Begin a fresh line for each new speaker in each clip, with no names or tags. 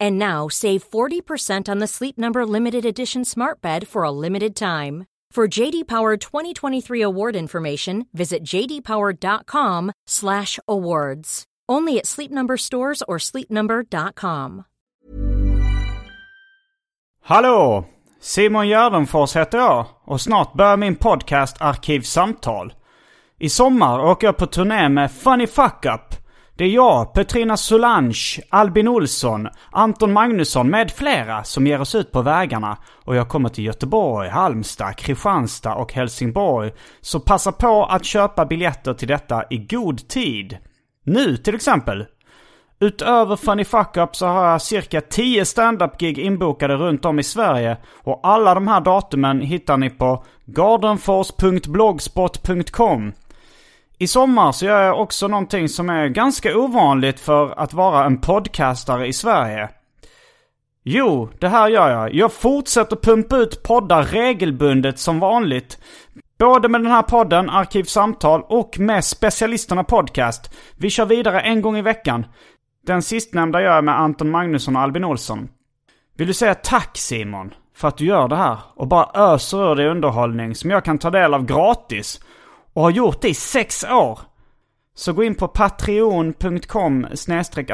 And now save 40% on the Sleep Number limited edition smart bed for a limited time. For JD Power 2023 award information, visit jdpower.com/awards. Only at Sleep Number stores or sleepnumber.com.
Hallå! Simon Gärdenfors heter jag och snart börjar min podcast Arkivsamtal. I sommar åker jag på turné med Funny Fuck Up. Det är jag, Petrina Solange, Albin Olsson, Anton Magnusson med flera som ger oss ut på vägarna. Och jag kommer till Göteborg, Halmstad, Kristianstad och Helsingborg. Så passa på att köpa biljetter till detta i god tid. Nu till exempel, Utöver Funny Fuck Up så har jag cirka 10 stand-up-gig inbokade runt om i Sverige. Och alla de här datumen hittar ni på gardenfors.blogspot.com. I sommar så gör jag också någonting som är ganska ovanligt för att vara en podcastare i Sverige. Jo, det här gör jag. Jag fortsätter pumpa ut poddar regelbundet som vanligt. Både med den här podden, Arkivsamtal, och med Specialisterna Podcast. Vi kör vidare en gång i veckan. Den sistnämnda gör jag med Anton Magnusson och Albin Olsson. Vill du säga tack Simon för att du gör det här och bara öser ur dig underhållning som jag kan ta del av gratis och har gjort det i sex år? Så gå in på patreon.com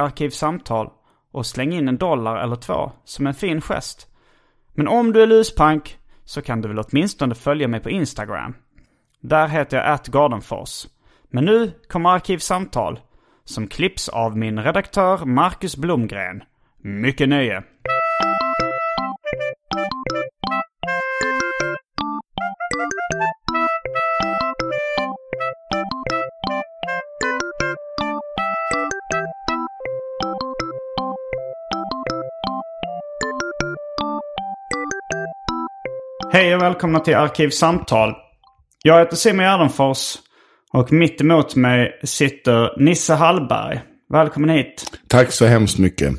arkivsamtal och släng in en dollar eller två som en fin gest. Men om du är luspank så kan du väl åtminstone följa mig på Instagram. Där heter jag atgardenfors. Men nu kommer Arkivsamtal som klipps av min redaktör Marcus Blomgren. Mycket nöje! Hej och välkomna till Arkivsamtal. Jag heter Simon Gärdenfors och mitt emot mig sitter Nisse Hallberg. Välkommen hit.
Tack så hemskt mycket.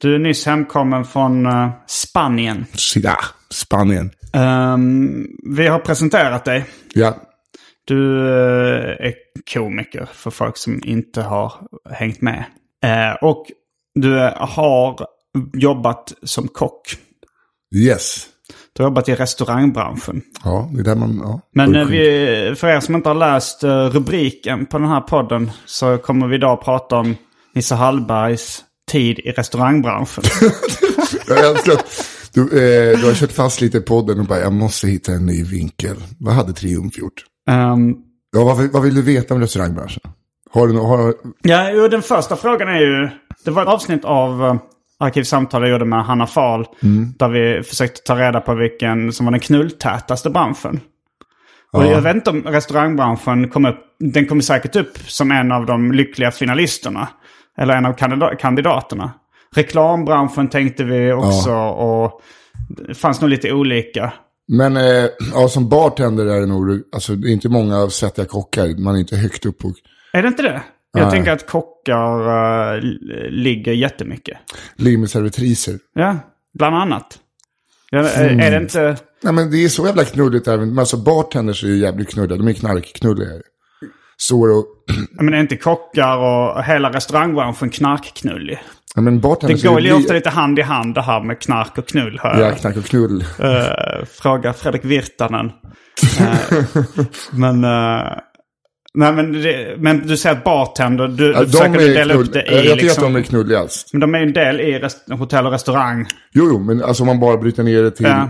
Du är nyss hemkommen från eh, Spanien.
Ja, Spanien.
Ehm, vi har presenterat dig.
Ja,
Du eh, är komiker för folk som inte har hängt med. Eh, och du eh, har jobbat som kock.
yes.
Du har jobbat i restaurangbranschen.
Ja, det är där man... Ja.
Men eh,
Urskilt.
vi, för er som inte har läst eh, rubriken på den här podden så kommer vi idag prata om Nisse Hallbergs tid i restaurangbranschen.
Jag älskar att du, eh, du har kört fast lite i podden och bara, jag måste hitta en ny vinkel. Vad hade Triumf gjort?
Ehm,
Ja, vad, vill- vad vill du veta om restaurangbranschen? Har du nå- har,
Ja, jo, den första frågan är ju... Det var ett avsnitt av eh, Arkivsamtal jag gjorde med Hanna Fahl. Där vi försökte ta reda på vilken som var den knulltätaste branschen. Och jag vet inte om restaurangbranschen kom upp. Den kommer säkert upp som en av de lyckliga finalisterna. Eller en av kandida- kandidaterna. Reklambranschen tänkte vi också. Och det fanns nog lite olika.
Men eh, ja, som bartender är det nog, alltså det är inte många svettiga kockar, man är inte högt upp. Och,
Är det inte det? Jag
Nej.
tänker att kockar eh, ligger jättemycket.
ligger med servitriser.
Ja, bland annat. Ja, är,
Mm.
är det inte...
Nej men det är så jävla knulligt även, men alltså bartenders är ju jävligt knulliga, de är knarkknulliga. Står och,
Ja, Men är inte kockar och hela restaurangbranschen knarkknullig?
ja men bartenders
Det går
är
ju ofta lite hand i hand det här med knark och knull. Hör.
Alltså, Ja,
jag.
knark och knull.
Eh, fråga Fredrik Virtanen. Eh, men, eh, nej, men, det, men du säger att bartender, du,
Ja,
du försöker du dela
knull-
upp det
jag
i...
tycker
liksom,
att de är knulliga alls.
Men de är ju en del i rest, hotell och restaurang.
Jo, jo, men alltså om man bara bryter ner det till
Ja.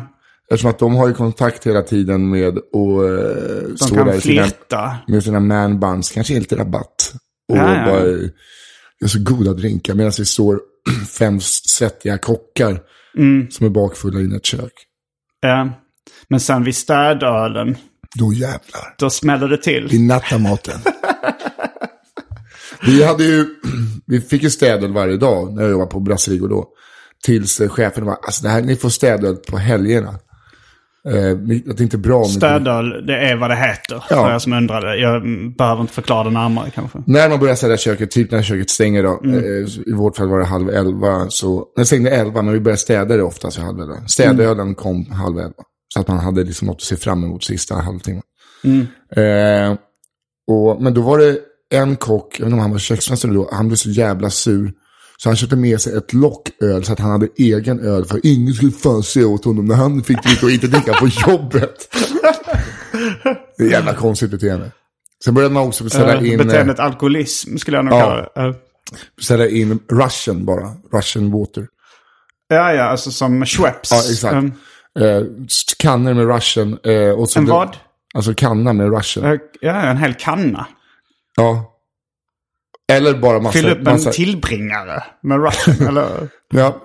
Eftersom att de har ju kontakt hela tiden med och eh,
De
står där
kan
i sina,
flirta.
med sina manbuns, kanske inte rabatt. Och
Ja, ja.
bara eh, gör så goda drinkar medan det står fem svettiga kockar
Mm.
som är bakfulla i ett kök.
Ja. Men sen vid städölen,
Då jävlar.
då smäller det till.
Vi nattar maten. vi, hade ju, vi fick ju städöl varje dag när jag jobbade på Brasiligo då. Tills eh, chefen var, alltså det här, ni får städöl på helgerna. Eh, men det är inte bra. Med
Städöl, det är vad det heter.
Ja.
För jag som undrade. Jag mm, behöver inte förklara det närmare kanske.
När man börjar städa köket, typ när köket stänger då, eh, i vårt fall var det halv elva, så, när det stängde elva, men vi började städa det oftast vid halv elva. Städölen kom halv elva. Så att man hade liksom något att se fram emot sista halvtimmen. Eh, och, men då var det en kock, jag vet inte om han var köksmästare då, han blev så jävla sur. Så han köpte med sig ett lock öl så att han hade egen öl för ingen skulle fan se åt honom när han fick dricka och inte dricka på jobbet. Det är jävla konstigt beteende. Sen började man också beställa
Eh,
in... eh,
Beteendet alkoholism skulle jag nog
Ja.
kalla det. Eh,
ställa in Russian bara. Russian water.
Ja, ja, alltså som Schweppes.
Ja, exakt.
Eh,
Eh, kannor med Russian. Eh, och så
En vad?
Alltså kanna med Russian.
eh, Ja, en hel kanna.
Ja. Eller bara massa...
Fyll upp en
Alltså, massa,
tillbringare med Russian, eller?
Ja.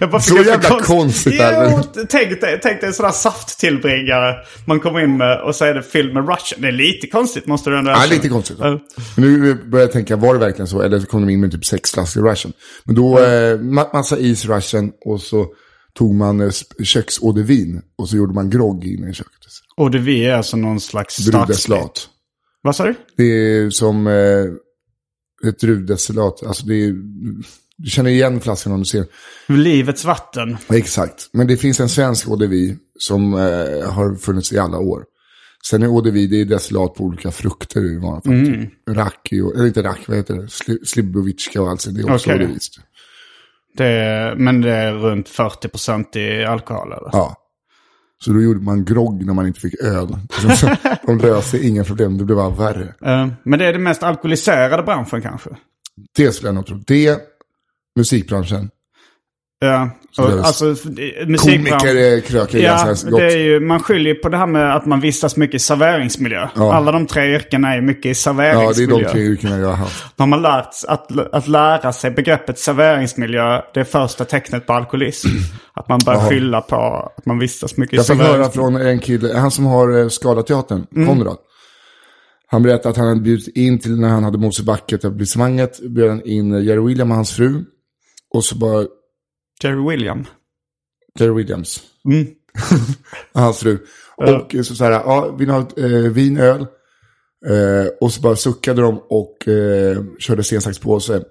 Jag bara
Så
fick en
jävla konstigt är det.
Jo, tänk dig, tänk dig en sån där safttillbringare man kommer in med och så är det fylld med Russian. Det är lite konstigt måste du ändå
ja,
erkänna.
lite konstigt.
Ja.
Men nu börjar jag tänka, var det verkligen så? Eller så kom de in med typ sex flaskor Russian. Men då, eh, ma- massa is Russian och så tog man eh, sp- köksådervin och så gjorde man grogg inne i köket.
Och det vi är alltså någon slags starksprit.
Brudeslat.
Vad sa du?
Det är som eh, ett druvdestillat. Alltså det är, du känner igen flaskan om du ser.
Livets vatten.
Exakt. Men det finns en svensk eau som eh, har funnits i alla år. Sen är eau det är destillat på olika frukter i vanliga fall.
Mm.
Typ Raki och, eller inte raki, vad heter det? Sli- Slivovitska och allt sånt. Det är också
Okej.
eau de vie.
Det är, men det är runt 40% i alkohol eller?
Ja. Så då gjorde man grogg när man inte fick öl. Liksom Så De löste inga problem, det blev bara värre.
Eh, Men det är den mest alkoholiserade branschen kanske.
Det skulle jag nog tro. Det, musikbranschen.
Ja, och,
det är-
alltså f- musikbranschen.
Komiker eh, krökar
Ja,
ganska gott.
det är ju, man skyller ju på det här med att man vistas mycket i serveringsmiljö. Alla de tre yrkena är mycket i
Ja, det är
serveringsmiljö.
de tre yrkena jag har haft.
Då har man lärt sig att, att lära sig begreppet serveringsmiljö, det är första tecknet på alkoholism. Att man börjar skylla på att man vistas mycket i
Jag fick höra
serveringsmiljö.
från en kille, han som har eh, Skalateatern, Konrad. Han berättade att han hade bjudit in till när han hade Mosebacke-etablissemanget, bjöd han in eh, Jerry William och hans fru. Och så bara
Jerry William.
Jerry Williams
Mm.
och hans fru. Och eh, så, så här, ja, vill ni ha eh, vin, öl? Eh, och så bara suckade de och eh, körde sten, sax, påse.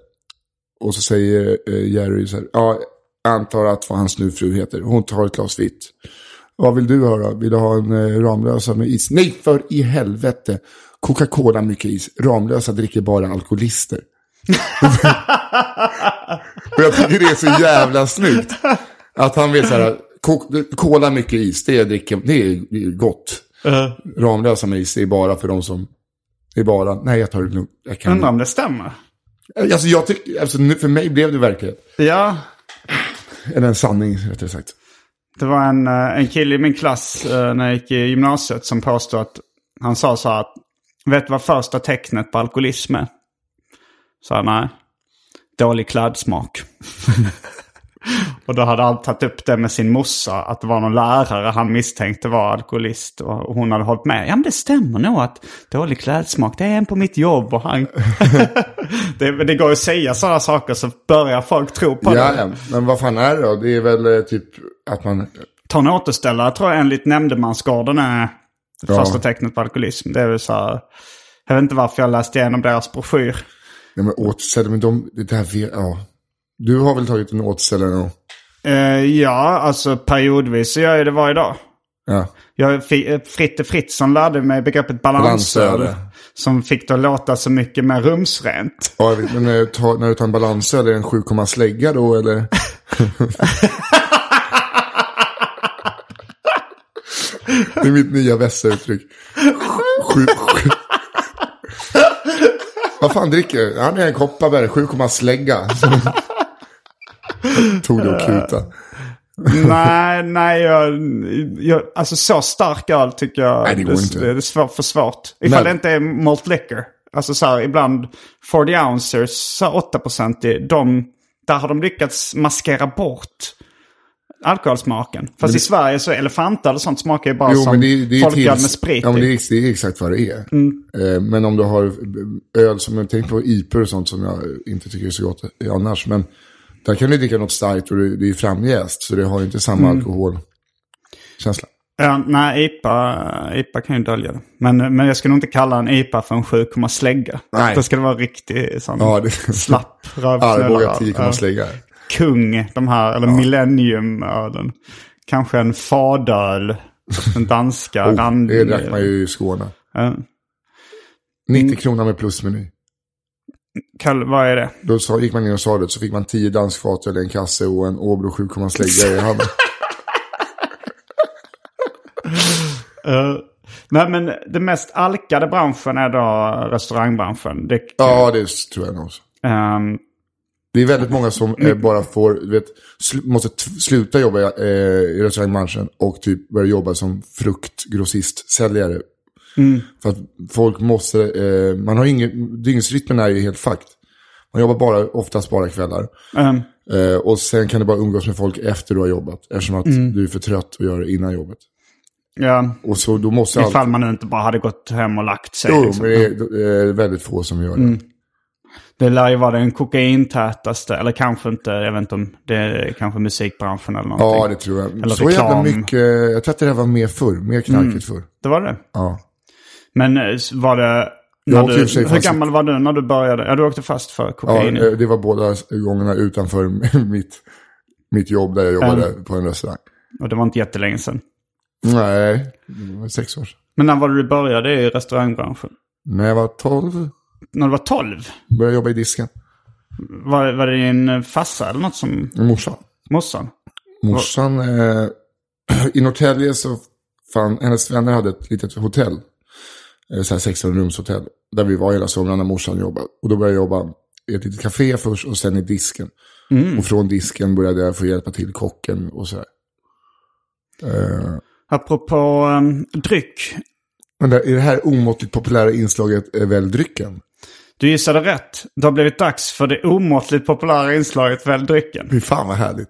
Och så säger eh, Jerry så här, ja, jag antar att vad hans nu fru heter. Hon tar ett glas vitt. Vad vill du ha då? Vill du ha en eh, Ramlösa med is? Nej, för i helvete. Coca-Cola mycket is. Ramlösa dricker bara alkoholister. och jag tycker det är så jävla snyggt. Att han vet så här, ko- cola mycket is, det, dricker, det är det är gott.
Eh,
Ramlösa med is, det är bara för de som... Det är bara, nej jag tar det lugnt. Jag kan
undrar om det stämmer.
Alltså jag tycker, alltså, nu- för mig blev det verklighet.
Ja,
Eller en sanning rättare sagt.
det var en, eh, en kille i min klass eh, när jag gick i gymnasiet som påstod att, han sa så här att, vet du vad första tecknet på alkoholism är? Sa jag nej. Dålig klädsmak. och då hade han tagit upp det med sin morsa, att det var någon lärare han misstänkte var alkoholist. Och hon hade hållit med. Ja men det stämmer nog att dålig klädsmak, det är en på mitt jobb och han... det, det går att säga sådana saker så börjar folk tro på det.
Ja, ja, men vad fan är det då? Det är väl eh, typ att man...
ta en återställare tror jag enligt nämndemansgarden är det
Ja.
första tecknet på alkoholism. Det är väl så här, jag vet inte varför jag läste igenom deras broschyr.
Nej men återställare, men de... Det där vet... Ja. Du har väl tagit en återställare och...
Eh, ja, alltså periodvis så gör jag det varje dag.
Ja.
Jag, fi- eh, Fritte Fritzson lärde mig begreppet balansöl.
Balansöl.
Som fick det att låta så mycket mer rumsrent.
ja jag vet, men eh, ta, när du tar en balansöl, är det en 7, slägga då eller? det är mitt nya västauttryck. Sju, sju. Vad fan dricker du? Han är en Kopparberg, 7, slägga. Tog det och kuta.
nej, nej, jag, jag, alltså så stark öl tycker jag.
Nej, det går inte.
det är svårt, för svårt. Ifall
Men-
det inte är malt liquor. Alltså så här, ibland 40 ounces, så här 8% i, de, där har de lyckats maskera bort alkoholsmaken. Fast i Sverige så elefantöl och sånt smakar ju bara
Jo,
som
men det, är- det är
folköl
tills-
med sprit liksom. Mm.
Ja, men
i.
det är, det är exakt vad det är. Eh, Men om du har eh, öl som, tänk på IPor och sånt som jag inte tycker är så gott annars. Men där kan du dricka något starkt och det det är framjäst. Så det har ju inte samma
Mm.
alkoholkänsla.
Ja, nej, IPA, IPA kan ju dölja det. Men, men jag skulle nog inte kalla en IPA för en 7, slägga.
Nej.
Då ska det vara riktig sån
Ja, det-
slapp
Arboga
rövsnälla.
10 kommer slägga.
Kung, de här, eller millenniumölen. Kanske en fadöl, den danska
Oh,
rand...
det drack man ju i Skåne.
Ja. Mm.
90 kronor med plusmeny.
Kall, vad är det?
Då sa, gick man in och sa det, så fick man 10 danskfat eller en kasse och en Åbro 7, slägga i handen.
Eh, nej, men den mest alkade branschen är då restaurangbranschen. Det,
Ja, det tror jag nog. också.
ehm,
Det är väldigt många som eh, bara får, du vet, sl- måste t- sluta jobba i, eh, i restaurangbranschen och typ börja jobba som fruktgrossistsäljare.
Mm.
För att folk måste, eh, man har ingen, dygnsrytmen är ju helt fakt. Man jobbar bara, oftast bara kvällar.
ehm,
Eh, och sen kan du bara umgås med folk efter du har jobbat. Eftersom att
Mm.
du är för trött att göra det innan jobbet.
ja,
Och så då måste
ifall man nu inte bara hade gått hem och lagt sig.
Jo,
liksom. Mm.
men det är eh, väldigt få som gör det.
Det lär ju vara den kokaintätaste, eller kanske inte, jag vet inte om det är kanske musikbranschen eller någonting.
Ja, det tror jag.
Eller
så jävla
reklam. Mm.
mycket, jag tror att det där var mer förr, mer knarkigt förr.
Det var det.
Ja.
Men eh, var det...
Jag
När
åkte i
du,
och för sig
hur
fast-
gammal var du när du började? Ja, du åkte fast för
Ja,
kokain.
eh, det var båda gångerna utanför mitt, mitt jobb där jag jobbade på en restaurang.
Och det var inte jättelänge sedan.
Nej, det var sex år sedan.
Men när var det du började i restaurangbranschen?
När jag var tolv
När du var 12?
började jag jobba i disken.
Var, var det din farsa eller något som...
Morsan.
Morsan?
Morsan, eh, i Norrtälje så fann, hennes vänner hade ett litet hotell. Eh, så här 16-rumshotell. Där vi var hela somrarna när morsan jobbade. Och då började jag jobba i ett litet café först och sen i disken. Och från disken började jag få hjälpa till kocken och sådär. Eh,
Apropå um, dryck.
men där, i det här omåttligt populära inslaget är väl drycken?
Du gissade rätt. Det har blivit dags för det omåttligt populära inslaget Välj drycken.
Fy fan vad härligt.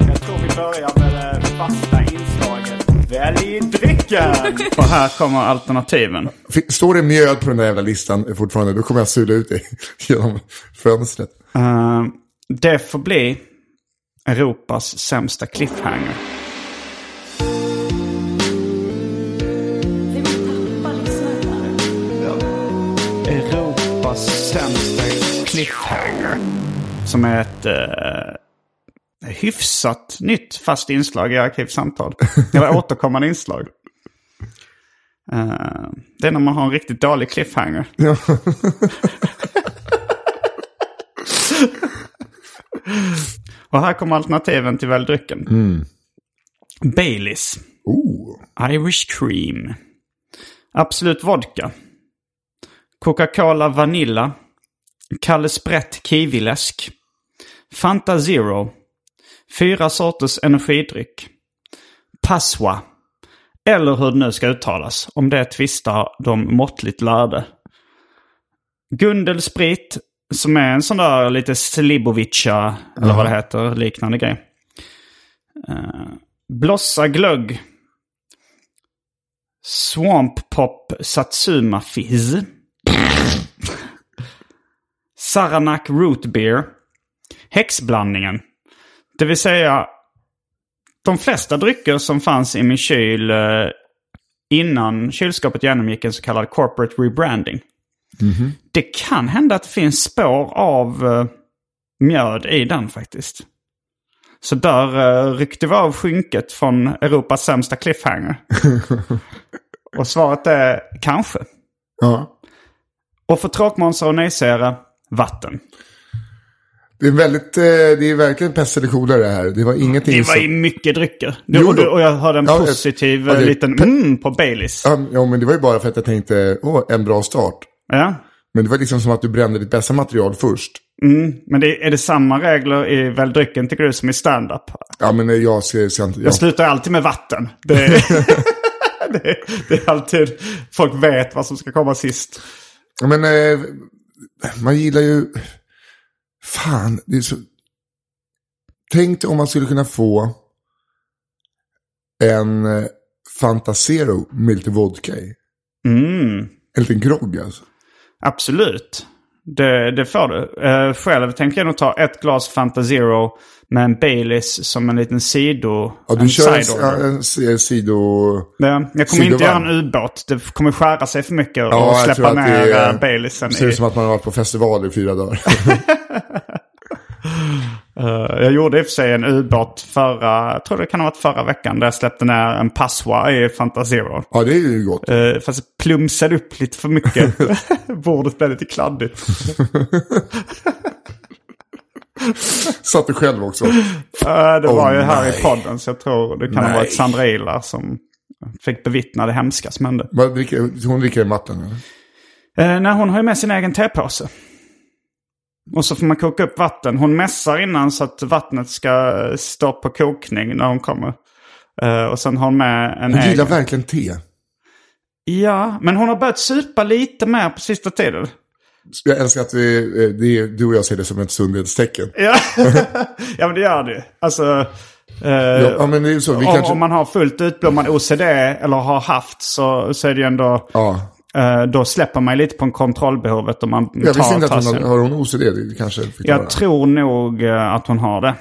Jag tror vi börjar med det fasta inslaget Välj drycken! Och här kommer alternativen.
Fi- Står det mjöd på den där jävla listan fortfarande, då kommer jag sula ut dig genom fönstret.
Eh, det får bli Europas sämsta cliffhanger. Europas sämsta cliffhanger. Som är ett eh, hyfsat nytt fast inslag i Arkivsamtal. Eller återkommande inslag. Eh, det är när man har en riktigt dålig cliffhanger. Och här kommer alternativen till väldrycken. Baileys.
Oh,
Irish Cream. Absolut Vodka. Coca-Cola Vanilla. Kalle Sprätt Kiwiläsk. Fanta Zero. Fyra sorters energidryck. Passoa. Eller hur det nu ska uttalas. Om det tvistar de måttligt lärde. Gundel Sprit. Som är en sån där lite Slibovica, eller vad det heter, liknande grej. Eh, Blossa glögg. Swamp Pop Satsuma Fizz. Saranac Root Beer. Häxblandningen. Det vill säga de flesta drycker som fanns i min kyl eh, innan kylskåpet genomgick en så kallad corporate rebranding. Det kan hända att det finns spår av eh, mjöd i den faktiskt. Så där eh, ryckte vi av skynket från Europas sämsta cliffhanger. Och svaret är kanske.
ja.
Och för tråkmånsar och nejsägare, vatten.
Det är väldigt, eh, det är verkligen pest eller kolera det här. Det var ingenting
Det var
som-
ju mycket drycker.
Jo,
Jo, och, du,
jo.
och jag hörde en
Ja, ett-
positiv
ja,
eh,
det-
liten mm på Baileys.
Ja, men det var ju bara för att jag tänkte, åh, en bra start.
Ja.
Men det var liksom som att du brände ditt bästa material först.
Mm, men det, är det samma regler i väl drycken tycker du som i standup?
Ja, men eh, jag ser, ser inte...
Jag
Jag,
slutar alltid med vatten. Det är, det, är- det är alltid... Folk vet vad som ska komma sist.
Ja, men eh, man gillar ju... Fan, det är så... Tänk dig om man skulle kunna få en eh, Fanta Zero med lite vodka i.
Mm,
En liten grogg alltså.
absolut. Det, det får du. Eh, själv tänker jag nog ta ett glas Fanta Zero med en Baileys som en liten sido...
Ja, du
en
kör en,
sideorder.
ja, en, si- en sido...
Ja, jag kommer inte göra
Sidovarm.
en ubåt. Det kommer skära sig för mycket
Ja,
och
jag tror
släppa
att det
ner
är-
eh, Baileysen.
Det ser
i-
ut som att man har varit på festival i fyra dagar.
Eh, jag gjorde i och för sig en ubåt förra, jag tror det kan ha varit förra veckan, där jag släppte ner en passwa i Fantasero.
ja, det är ju gott.
Uh, fast jag plumsade upp lite för mycket. Bordet blev lite kladdigt.
Satt du själv också.
Eh, det
Åh,
var ju här i
nej.
podden så jag tror det kan ha
Nej.
varit Sandra Ilar som fick bevittna det hemska som hände.
Vad dricker, hon dricker i matten. eller?
Eh, nej, hon har ju med sin egen tepåse. Och så får man koka upp vatten. Hon mässar innan så att vattnet ska eh, stå på kokning när hon kommer. Eh, och sen har hon med en
Hon
egen.
gillar verkligen te.
Ja, men hon har börjat supa lite mer på sista tiden.
Jag älskar att vi, eh, det är, du och jag ser det som ett sundhetstecken.
Ja, ja men det gör det ju. Alltså, eh,
Ja, ja, men det är ju så. Vi
om,
kanske...
om man har fullt utblommad OCD eller har haft så, så är det ju ändå...
Ja.
eh, då släpper man ju lite på en kontrollbehovet om man
Jag visste
tar,
inte
tar
att hon
sig-
har, har hon OCD. Det kanske fick
Jag
höra.
tror nog eh, att hon har det.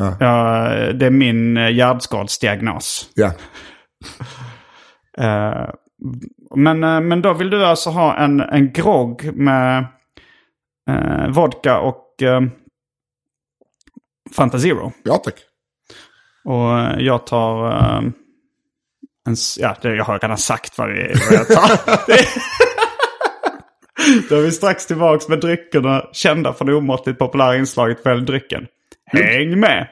Ja.
Ja, det är min eh, hjärnskadsdiagnos.
Ja.
Eh, Men, eh, men då vill du alltså ha en, en grogg med eh, vodka och eh, Fanta Zero.
ja, tack.
Och eh, jag tar... eh, En, s- ja, det, jag har redan sagt vad, vi, vad jag tar. Då är vi strax tillbaka med dryckerna kända från det omåttligt populära inslaget Välj drycken. Häng med!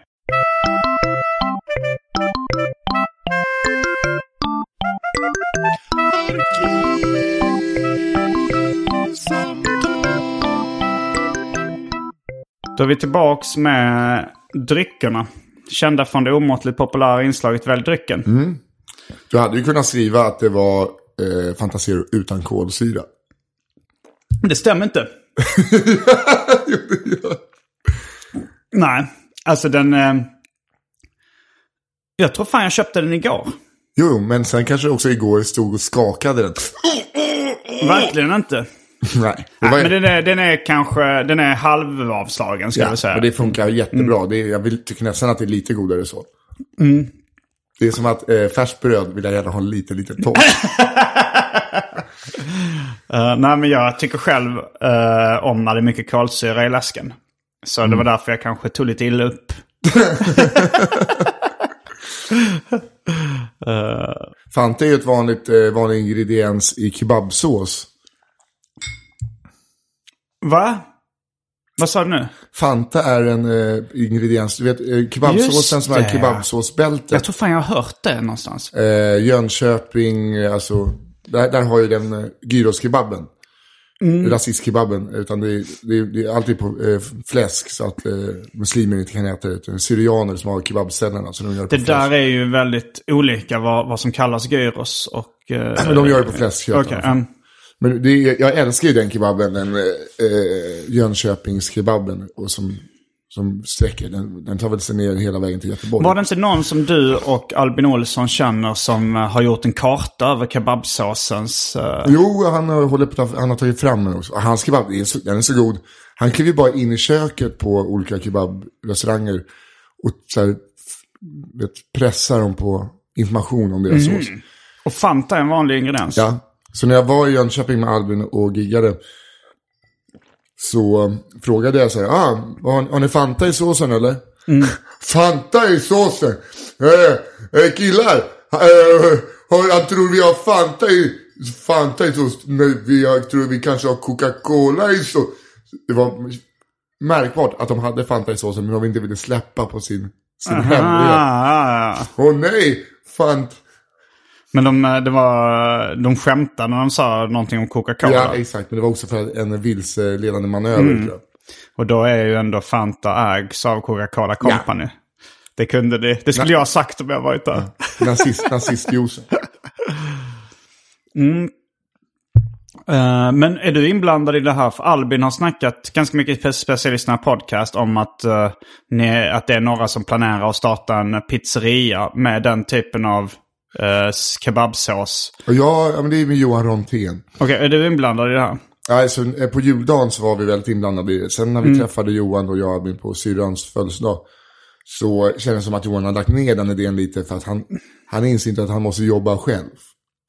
Då är vi tillbaks med dryckerna. Kända från det omåttligt populära inslaget Välj drycken.
Du hade ju kunnat skriva att det var eh, Fantasero utan kolsyra.
Men det stämmer inte. Nej, alltså den... Eh, jag tror fan jag köpte den igår.
Jo, jo, men sen kanske också igår stod och skakade den.
Verkligen inte.
Nej.
Nej,
Det var,
men den är, den är kanske... Den är halvavslagen ska
ja,
jag Mm. säga.
men det funkar jättebra. Det är, jag vill, tycker nästan att det är lite godare så.
Mm.
Det är som att eh, färskt bröd vill jag gärna ha lite, lite torrt.
Eh, nej, men jag tycker själv eh, om när det är mycket kolsyra i läsken. Så
Mm.
det var därför jag kanske tog lite illa upp.
Fanta är ju ett vanligt, eh, vanlig ingrediens i kebabsås.
Va? Vad sa du nu?
Fanta är en eh, ingrediens, du vet eh, kebabsåsen
Just
som är
det.
kebabsåsbältet.
Jag tror fan jag har hört det någonstans.
Eh, Jönköping, eh, alltså, där, där har ju den eh, gyroskebabben. Rasistkebabben, utan det är, det är, det är alltid på eh, fläsk så att eh, muslimer inte kan äta det. Utan det är syrianer som har kebabställena. Så de gör det på
Det där
fläsk.
är ju väldigt olika vad, vad som kallas gyros och... Uh,
Men de gör det på fläsk. helt
Okej,
enkelt.
ehm,
Men det är, jag älskar ju den kebabben, den eh, eh, Jönköpingskebabben. Och som, som sträcker, den, den tar väl sig ner hela vägen till Göteborg.
var det inte någon som du och Albin Olsson känner som eh, har gjort en karta över kebabsåsens... eh,
Jo, han har, hållit på, han har tagit fram den också. Och Hans kebab, det är så, den är så god. Han kliver bara in i köket på olika kebabrestauranger och så här, f- vet, pressar dem på information om deras sås.
och Fanta är en vanlig ingrediens.
Ja. Så när jag var i Jönköping med Albin och giggade så um, frågade jag så här, ah, har, har ni Fanta i såsen eller? Fanta i såsen? Eh, eh, killar, eh, har, jag tror vi har Fanta i, Fanta i såsen? Nej, vi har, tror vi kanske har Coca-Cola i såsen. Det var märkbart att de hade Fanta i såsen men de inte ville släppa på sin, sin
Ah,
hemlighet.
ja, ja.
Åh nej, Fanta.
Men de, eh, det var, de skämtade när de sa någonting om Coca-Cola.
Ja, Mm. exakt. Men det var också för en vilseledande manöver. tror jag.
Och då är ju ändå Fanta ägs av Coca-Cola Company. Det kunde det. Det skulle jag ha sagt om jag varit där.
Nazist, nazistjuice.
Eh, men är du inblandad i det här? För Albin har snackat ganska mycket spe- speciellt i sina podcast om att, eh, ni, att det är några som planerar att starta en pizzeria med den typen av eh, kebabsås.
Och jag, ja, men det är med Johan Rontén.
Okej, är du inblandad i det här?
Ja, Alltså, eh, på juldagen så var vi väldigt inblandade i det. Sen när vi träffade Johan och jag Albin på syrrans födelsedag så kändes det som att Johan hade lagt ner den idén lite för att han, han inser inte att han måste jobba själv.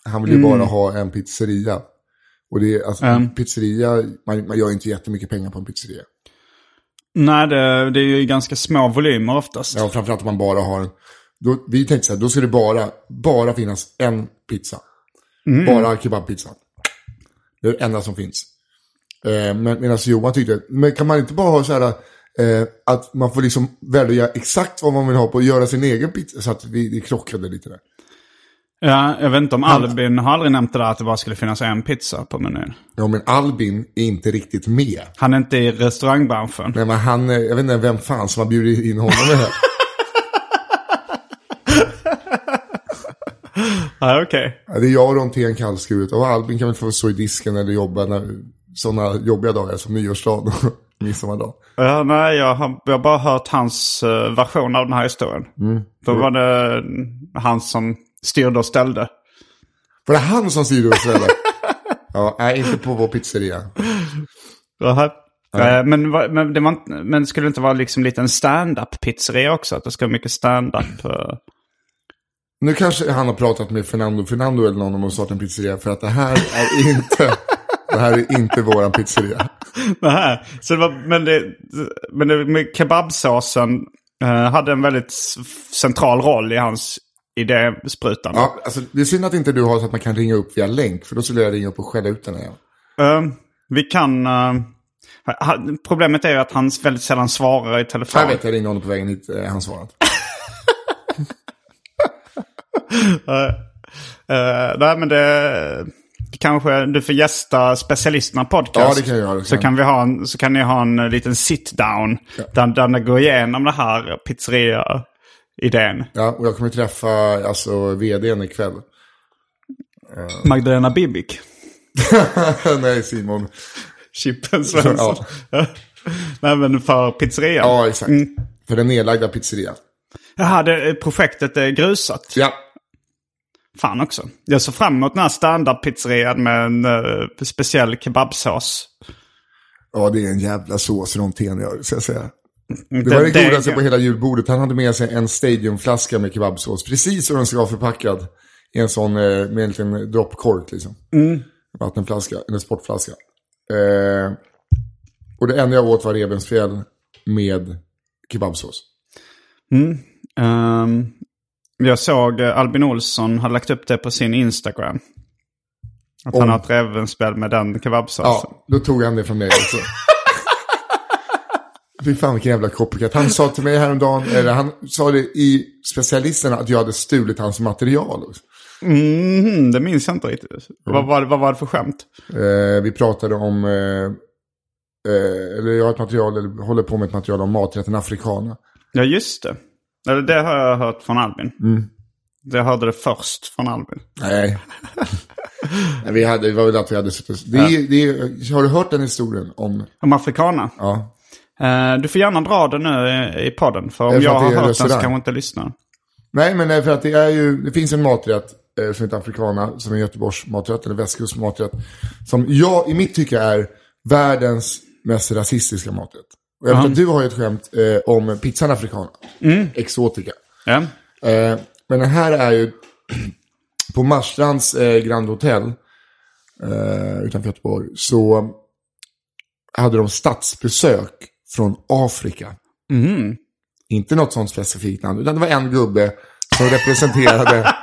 Han vill ju bara ha en pizzeria. Och det är, alltså, en pizzeria, man, man gör inte jättemycket pengar på en pizzeria.
Nej, det, det är ju ganska små volymer oftast.
Ja, och framförallt om man bara har en. Då, vi tänkte så här, då ska det bara, bara finnas en pizza. Bara kebabpizza. Det är det enda som finns. Eh, men, medan Johan tyckte, men kan man inte bara ha så här eh, att man får liksom välja exakt vad man vill ha på och göra sin egen pizza? Så att vi det krockade lite där.
Ja, jag vet inte om Albin har aldrig nämnt det där att det bara skulle finnas en pizza på menyn.
Ja, men Albin är inte riktigt med.
Han är inte i restaurangbranschen.
Nej, men han, eh, jag vet inte vem fan som har bjudit in honom här.
Ja, okej.
Ja, Det är jag och Rontén kallskuret och Albin kan väl få stå i disken eller jobba när sådana jobbiga dagar som nyårsdagen och midsommardagen.
Ja, nej, jag har, jag har bara hört hans eh, version av den här historien. Då var det han som styrde och ställde.
Var det han som styrde oss eller? ja, nej, inte på vår pizzeria.
Jaha. Eh, Men, va- men, det var, inte- men skulle det inte vara liksom lite en stand-up pizzeria också? Att det ska vara mycket stand-up? eh?
Nu kanske han har pratat med Fernando, Fernando eller någon om att starta en pizzeria för att det här är inte, det här är inte våran pizzeria.
Nähä. Så det var, men det, men det, med kebabsåsen eh, hade en väldigt s- central roll i hans idésprutande.
Ja, alltså, det är synd att inte du har så att man kan ringa upp via länk för då skulle jag ringa upp och skälla ut den igen.
Eh, vi kan... eh, ha- problemet är ju att han väldigt sällan svarar i telefon.
Jag vet, jag ringde honom på vägen hit, eh, han svarade.
Uh, nej men det... Kanske du får gästa specialisterna podcast.
Ja, det kan jag göra.
Så kan, vi ha en, så kan ni ha en eh, liten sit down. Där, där ni går igenom den här pizzeria-idén.
Ja, och jag kommer träffa alltså, vdn ikväll.
Magdalena Bibic.
Nej, Simon.
Chippen Svensson. Nej men för pizzerian.
Ja, exakt. För den nedlagda pizzerian.
Jaha, det, projektet är grusat.
Ja.
Fan också. Jag såg fram emot den här standardpizzerian med en eh, speciell kebabsås.
Ja, det är en jävla sås Rontén gör, ska jag säga. Det
Mm. Den
var det godaste
degen.
på hela julbordet. Han hade med sig en stadiumflaska med kebabsås. Precis som den ska vara förpackad. I en sån eh, med en liten droppkork liksom.
Mm.
Vattenflaska, eller sportflaska. Eh, och det enda jag åt var revbensspjäll med kebabsås.
Ehm, jag såg eh, Albin Olsson hade lagt upp det på sin Instagram. Att han
Om.
har ett rävenspel med den kebabsåsen.
Ja, då tog han det från mig också. Fy fan vilken jävla copycat. Han sa till mig häromdagen, eller han sa det i specialisterna att jag hade stulit hans material.
Mhm, det minns jag inte riktigt. Vad, var det- vad var det för skämt?
Eh, vi pratade om, eh, eh, eller jag har ett material, eller håller på med ett material om maträtten afrikana.
Ja, just det. Mm. Eller det har jag hört från Albin. Jag hörde det först från Albin.
Nej. Nej, vi hade, det var väl att vi hade suttit. Det, är- det, är- har du hört den historien om,
Om afrikaner.
ja.
Eh, du får gärna dra den nu i, i podden. För om
Därför
jag
att
har
det är
hört den så
restaurang.
kanske inte lyssnar.
Nej, men nej, för att det är ju, det finns en maträtt eh, som heter afrikana, som är Göteborgs maträtt, eller västkusts maträtt, som jag i mitt tycke är världens mest rasistiska maträtt. Och jag vet att du har ju ett skämt eh, om pizzan afrikana, exotica.
Ja.
Eh, men den här är ju på Marstrands eh, Grand Hotel eh, utanför Göteborg så hade de statsbesök från Afrika. Inte något sånt specifikt namn, utan det var en gubbe som representerade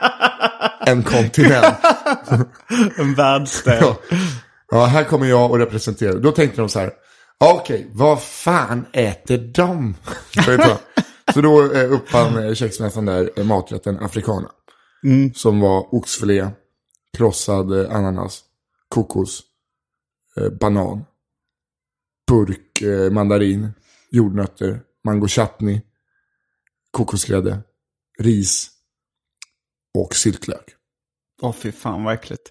en kontinent.
En världsdel.
Ja. ja, här kommer jag och representerar. Då tänkte de så här, "Ja, okej, vad fan äter de? Så då eh, uppfann eh, köksmästaren där eh, maträtten afrikana. Som var oxfilé, krossad eh, ananas, kokos, eh, banan, burk eh, mandarin, jordnötter, mango chutney, kokosgrädde, ris och syltlök.
Åh fy fan vad äckligt.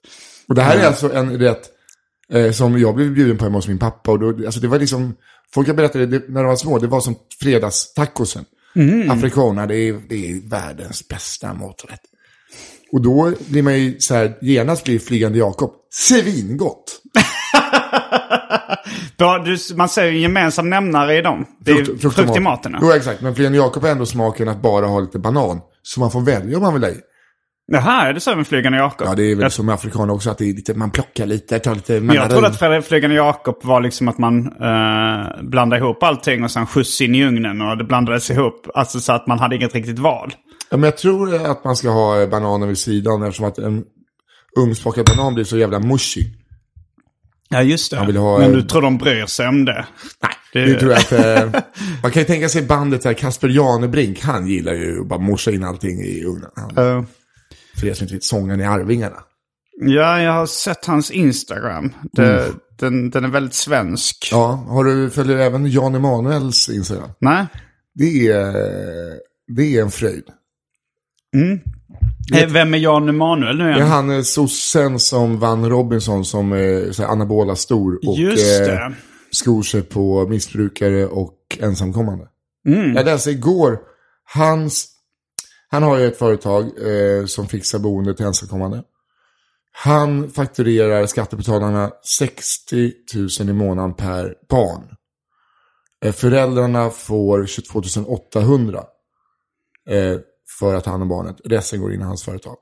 Och det här
Mm.
är alltså en rätt eh, som jag blev bjuden på hemma hos min pappa. Och då, alltså det var liksom, folk jag berättade det, när de var små, det var som fredagstacosen.
Mm.
Afrikaner, det är, det är världens bästa maträtt. Och då blir man ju så här, genast blir flygande Jakob svingott.
Då, du, man ser ju en gemensam nämnare i dem. Det är ju frukt, i maten.
Jo, exakt. Men flygande Jakob har ändå smaken att bara ha lite banan. Så man får välja om man vill ha i.
Jaha, är det så med Flygande Jakob?
Ja, det är väl som med afrikaner också, att det är lite, man plockar lite, tar lite
Men jag trodde
mandarin.
att Fred- Flygande Jakob var liksom att man eh, blandade ihop allting och sen skjuts in i ugnen och det blandades ihop. Alltså så att man hade inget riktigt val.
Ja, men jag tror att man ska ha eh, bananer vid sidan eftersom att en ugnsbakad banan blir så jävla mushy.
Ja, just det.
vill ha,
Men
eh,
du tror de bryr sig om det? Nej. Det,
Det tror jag att, eh, man kan ju tänka sig bandet här, Kasper Janebrink, han gillar ju att bara morsa in allting i ugnen. Han,
Eh,
för er som inte vet, sångaren i Arvingarna.
ja, jag har sett hans Instagram. Det, den, den är väldigt svensk.
Mm. Ja, har du, följer du även Jan Emanuels Instagram?
Nej?
Det är, det är en fröjd.
Eh, Vem är Jan Emanuel nu
Det är
igen?
han eh, sossen som vann Robinson som eh, så här anabola stor och
Just
eh,
det.
skor sig på missbrukare och ensamkommande. Jag läste igår, hans, han har ju ett företag eh, som fixar boende till ensamkommande. Han fakturerar skattebetalarna 60 000 i månaden per barn. Eh, föräldrarna får 22 800 eh, för att ta hand om barnet. Resten går in i hans företag.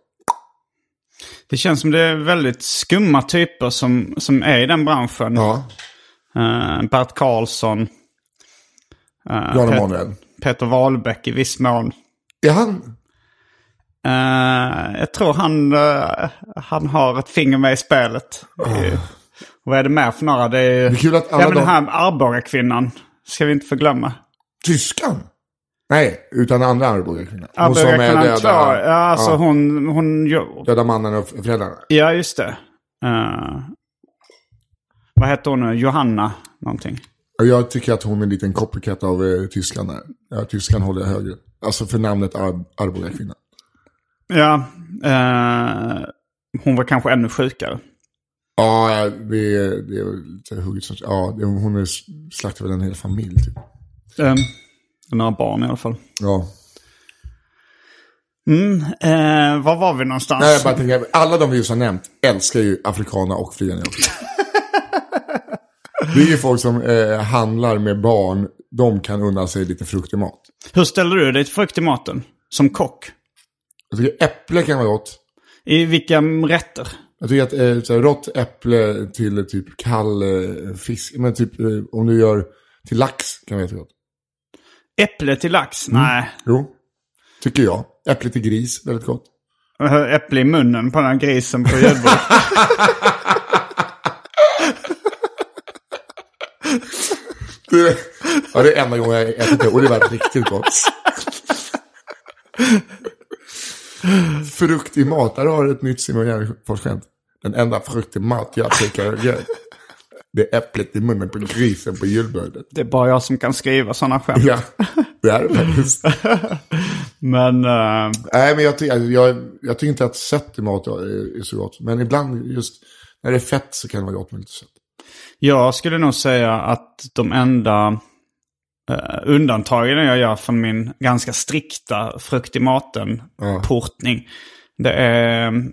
Det känns som det är väldigt skumma typer som, som är i den branschen.
Ja,
Eh, Bert Karlsson,
Jan
Pet-
Emanuel.
Peter Wahlbeck i viss mån.
Är han?
Eh, jag tror han, eh, han har ett finger med i spelet. Eh, Vad är det mer för några? Det är,
Det är kul att alla
ja, men den
de-
här Arboga-kvinnan ska vi inte förglömma.
Tyskan? Nej, utan andra Arboga-kvinnan. Hon som är
Arboga-kvinnan 2, ja,
döda,
alltså
ja.
hon, hon... jo-
döda mannen och föräldrarna.
Ja, just det. Eh, vad heter hon nu? Johanna någonting.
Och Jag tycker att hon är en liten copycat av eh, Tyskland där. Ja, Tyskland håller jag högre. Alltså för namnet Ar- Arboga-kvinnan.
Ja, eh, hon var kanske ännu sjukare.
Ja, ja, det är, det är väl lite hugget som... Ja, det- hon är, slaktar väl en hel familj typ.
Eh, några barn i alla fall.
Ja.
Mm, eh, var var vi någonstans?
Nej, jag bara tänker, alla de vi just har nämnt älskar ju afrikaner och friande också. Det är ju folk som eh, handlar med barn. De kan unna sig lite frukt i mat.
Hur ställer du dig till frukt i maten? Som kock?
Jag tycker äpple kan vara gott.
I vilka rätter?
Jag tycker att eh, så här, rått äpple till typ kall eh, fisk, men typ eh, om du gör till lax kan vara jättegott.
Äpple till lax? Nej.
Jo, tycker jag. Äpple till gris, väldigt gott.
Äpple i munnen på den här grisen på julbordet.
Det- ja, det är enda gången jag ätit det och det var riktigt gott. Frukt i mat, där har du ett nytt Simon Gärdenfors-skämt. Den enda frukt i mat jag tycker är gött. Det är äpplet i munnen på grisen på julbordet.
Det är bara jag som kan skriva sådana skämt.
Ja, det är det faktiskt.
Men eh,
Nej, men jag, ty- alltså, jag, jag tycker inte att sött i mat är, är så gott. Men ibland just när det är fett så kan det vara gott med lite sött.
jag skulle nog säga att de enda eh, undantagen jag gör från min ganska strikta frukt i maten-portning. Det är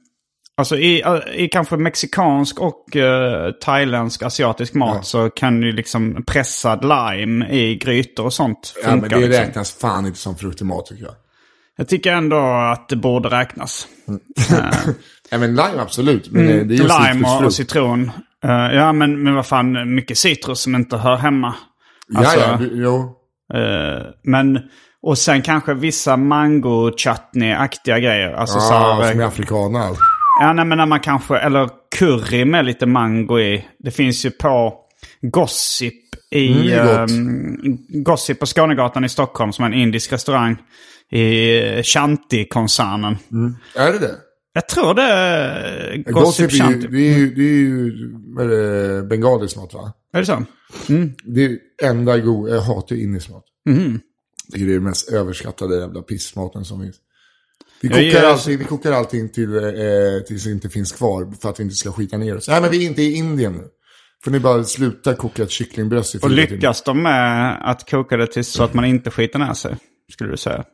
Alltså i, i kanske mexikansk och eh, thailändsk asiatisk mat så kan ju liksom pressad lime i grytor och sånt funka.
Ja, men det
liksom.
räknas fan inte som frukt i mat tycker jag.
Jag tycker ändå att det borde räknas.
Ja, men lime absolut. Men eh, det är ju
Mm. Lime och, och
citrusfrukt.
citron. Eh, ja, men, men vad fan, mycket citrus som inte hör hemma. Alltså,
ja, ja, du, jo.
eh, men, och sen kanske vissa mango chutney-aktiga grejer. Alltså så här,
Ah, som är alltså.
eh,
afrikaner.
Ja, nej, men när man kanske, eller curry med lite mango i. Det finns ju på Gossip i
Mm, det är gott.
ehm, Gossip på Skånegatan i Stockholm som är en indisk restaurang. i Shanti-koncernen.
Är det det?
Jag tror det är Gossip,
Gossip är ju,
Shanti.
det är ju, det är ju vad är det, bengaliskt något va?
Är det så?
Det är enda go- jag hatar ju indismat. Mm.
Mhm.
Det är det mest överskattade jävla pissmaten som finns. Vi kokar,
Jag gillar-
allting, vi kokar allting till, eh, tills det inte finns kvar för att vi inte ska skita ner oss. Nej men vi är inte i Indien nu. Får ni bara sluta koka ett kycklingbröst i
Och
fyra timmar.
lyckas de med att koka det till så att man inte skiter ner sig? Skulle du säga.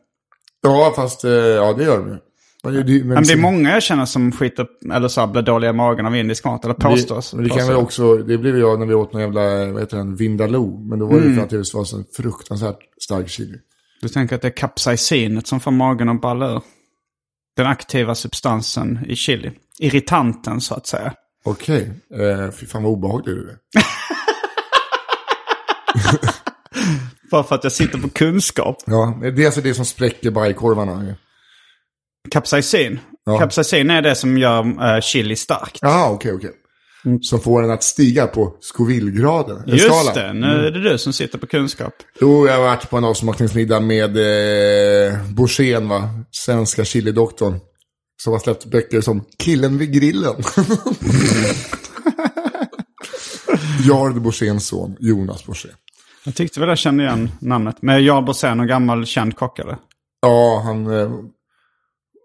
Ja fast, eh, ja det gör de ju. Men det- det-
Men det är många jag känner som skiter, eller så här, blir dåliga i magen av indisk mat. Eller påstås.
Men det kan
påstås.
väl också, det blev jag när vi åt någon jävla, vad heter den, Vindaloo. Men då var det för
Mm.
att det var så fruktansvärt stark chili.
Du tänker att det är capsaicinet som får magen att balla ur. Den aktiva substansen i chili. Irritanten så att säga.
Okej, eh, fy fan vad obehaglig du är.
Bara för att jag sitter på kunskap.
Ja, det är alltså det som spräcker bajkorvarna. ju.
Capsaicin.
Ja.
Capsaicin är det som gör eh, chili starkt.
Jaha, okej, okej.
Mm.
Som får den att stiga på Scoville-graden. en
Just
skala. Mm.
det, nu är det du som sitter på kunskap.
Jo, jag har varit på en avsmakningsmiddag med eh, Borssén, va? Svenska chilidoktorn. Som har släppt böcker som Killen vid grillen. Jarl Borséns son, Jonas Borssén.
Jag tyckte väl jag kände igen namnet. Men Jarl Borssén, en gammal känd kock eller?
Ja, han... eh,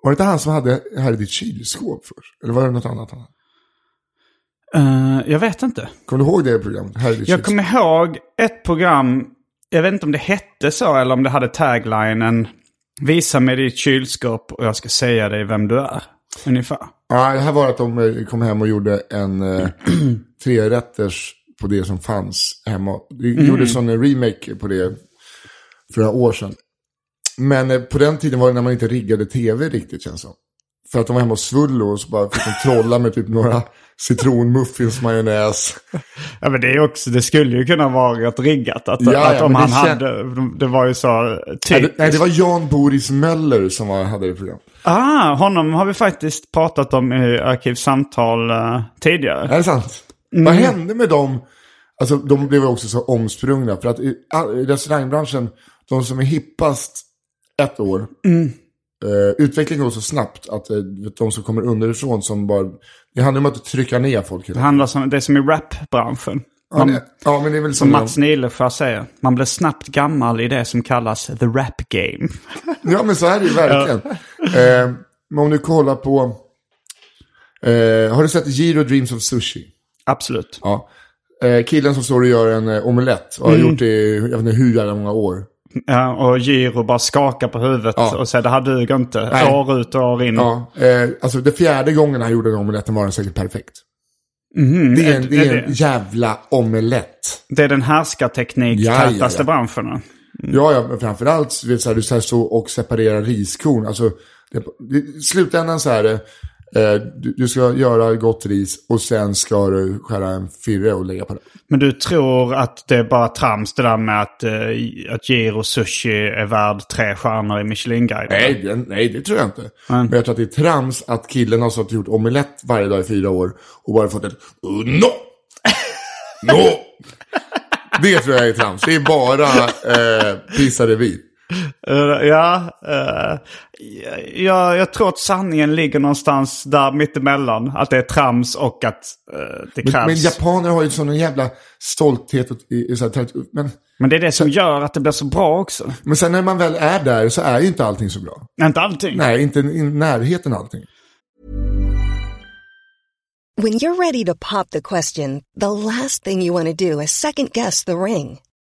Var det inte han som hade här i ditt kylskåp först? Eller var det något annat? han hade?
Eh, jag vet inte.
Kommer du ihåg det programmet? Här i ditt
Jag
kylskåp?
kommer ihåg ett program, jag vet inte om det hette så eller om det hade taglinen Visa mig ditt kylskåp och jag ska säga dig vem du är. Ungefär.
Nej, det här var att de eh, kom hem och gjorde en eh, trerätters på det som fanns hemma. Det gjordes som en eh, remake på det för några år sedan. Men eh, på den tiden var det när man inte riggade tv riktigt känns det som. För att de var hemma hos Svullo och så bara fick de trolla med typ några citronmuffins, majonnäs.
Ja, men det, är också, det skulle ju kunna varit riggat. Att,
Ja, ja,
att om
men
han
det kän-
hade... Det var ju så
Nej, det-
typ.
Nej, det var Jan Boris Möller som var, hade det program.
Ah, honom har vi faktiskt pratat om i Arkivsamtal eh, tidigare.
Är det sant? Vad hände med dem? Alltså de blev ju också så omsprungna. För att i, all- i restaurangbranschen, de som är hippast ett år, eh, utvecklingen går så snabbt att eh, vet, de som kommer underifrån som bara... Det handlar om att trycka ner folk.
Det handlar som, det är som i rapbranschen.
Ja,
Man,
det, ja, men det är väl
som
som...
Mats Nilefors säger, man blir snabbt gammal i det som kallas the rap game.
Ja, men så är det ju verkligen. eh, men om du kollar på... Eh, har du sett Giro Dreams of Sushi?
Absolut.
Ja. Eh, killen som står och gör en eh, omelett och har gjort det i jag vet inte hur jävla många år.
Ja, och Giro bara skakar på huvudet och säger det här duger inte.
Nej.
År ut och år in.
Ja, eh, alltså det fjärde gången han gjorde den omeletten var den säkert perfekt. det är en, det är
är
en jävla omelett.
Det är den härskarteknik
Ja, ja,
tätaste
ja.
branschen.
Ja, ja, men framförallt så vet, så här, du så här, så och separera riskorn. Alltså, det, det, i slutändan så är det, eh, du, du ska göra gott ris och sen ska du skära en firre och lägga på det.
Men du tror att det är bara trams det där med att, eh, att Giro Sushi är värd tre stjärnor i Michelinguiden?
Nej, det, nej, det tror jag inte. Men jag tror att det är trams att killen har suttit och gjort omelett varje dag i fyra år och bara fått ett "Uh, no! No! Det tror jag är trams. Det är bara eh, pissa revir.
Eh, ja, eh, jag, jag tror att sanningen ligger någonstans där mittemellan. Att det är trams och att eh, det krävs.
Men, men japaner har ju sån en jävla stolthet. Och, i, i, så här, tradition. men,
men det är det som gör att det blir så bra också.
men sen när man väl är där så är ju inte allting så bra.
Inte allting.
Nej, inte i närheten allting.
When you're ready to pop the question, the last thing you want to do is second guess the ring.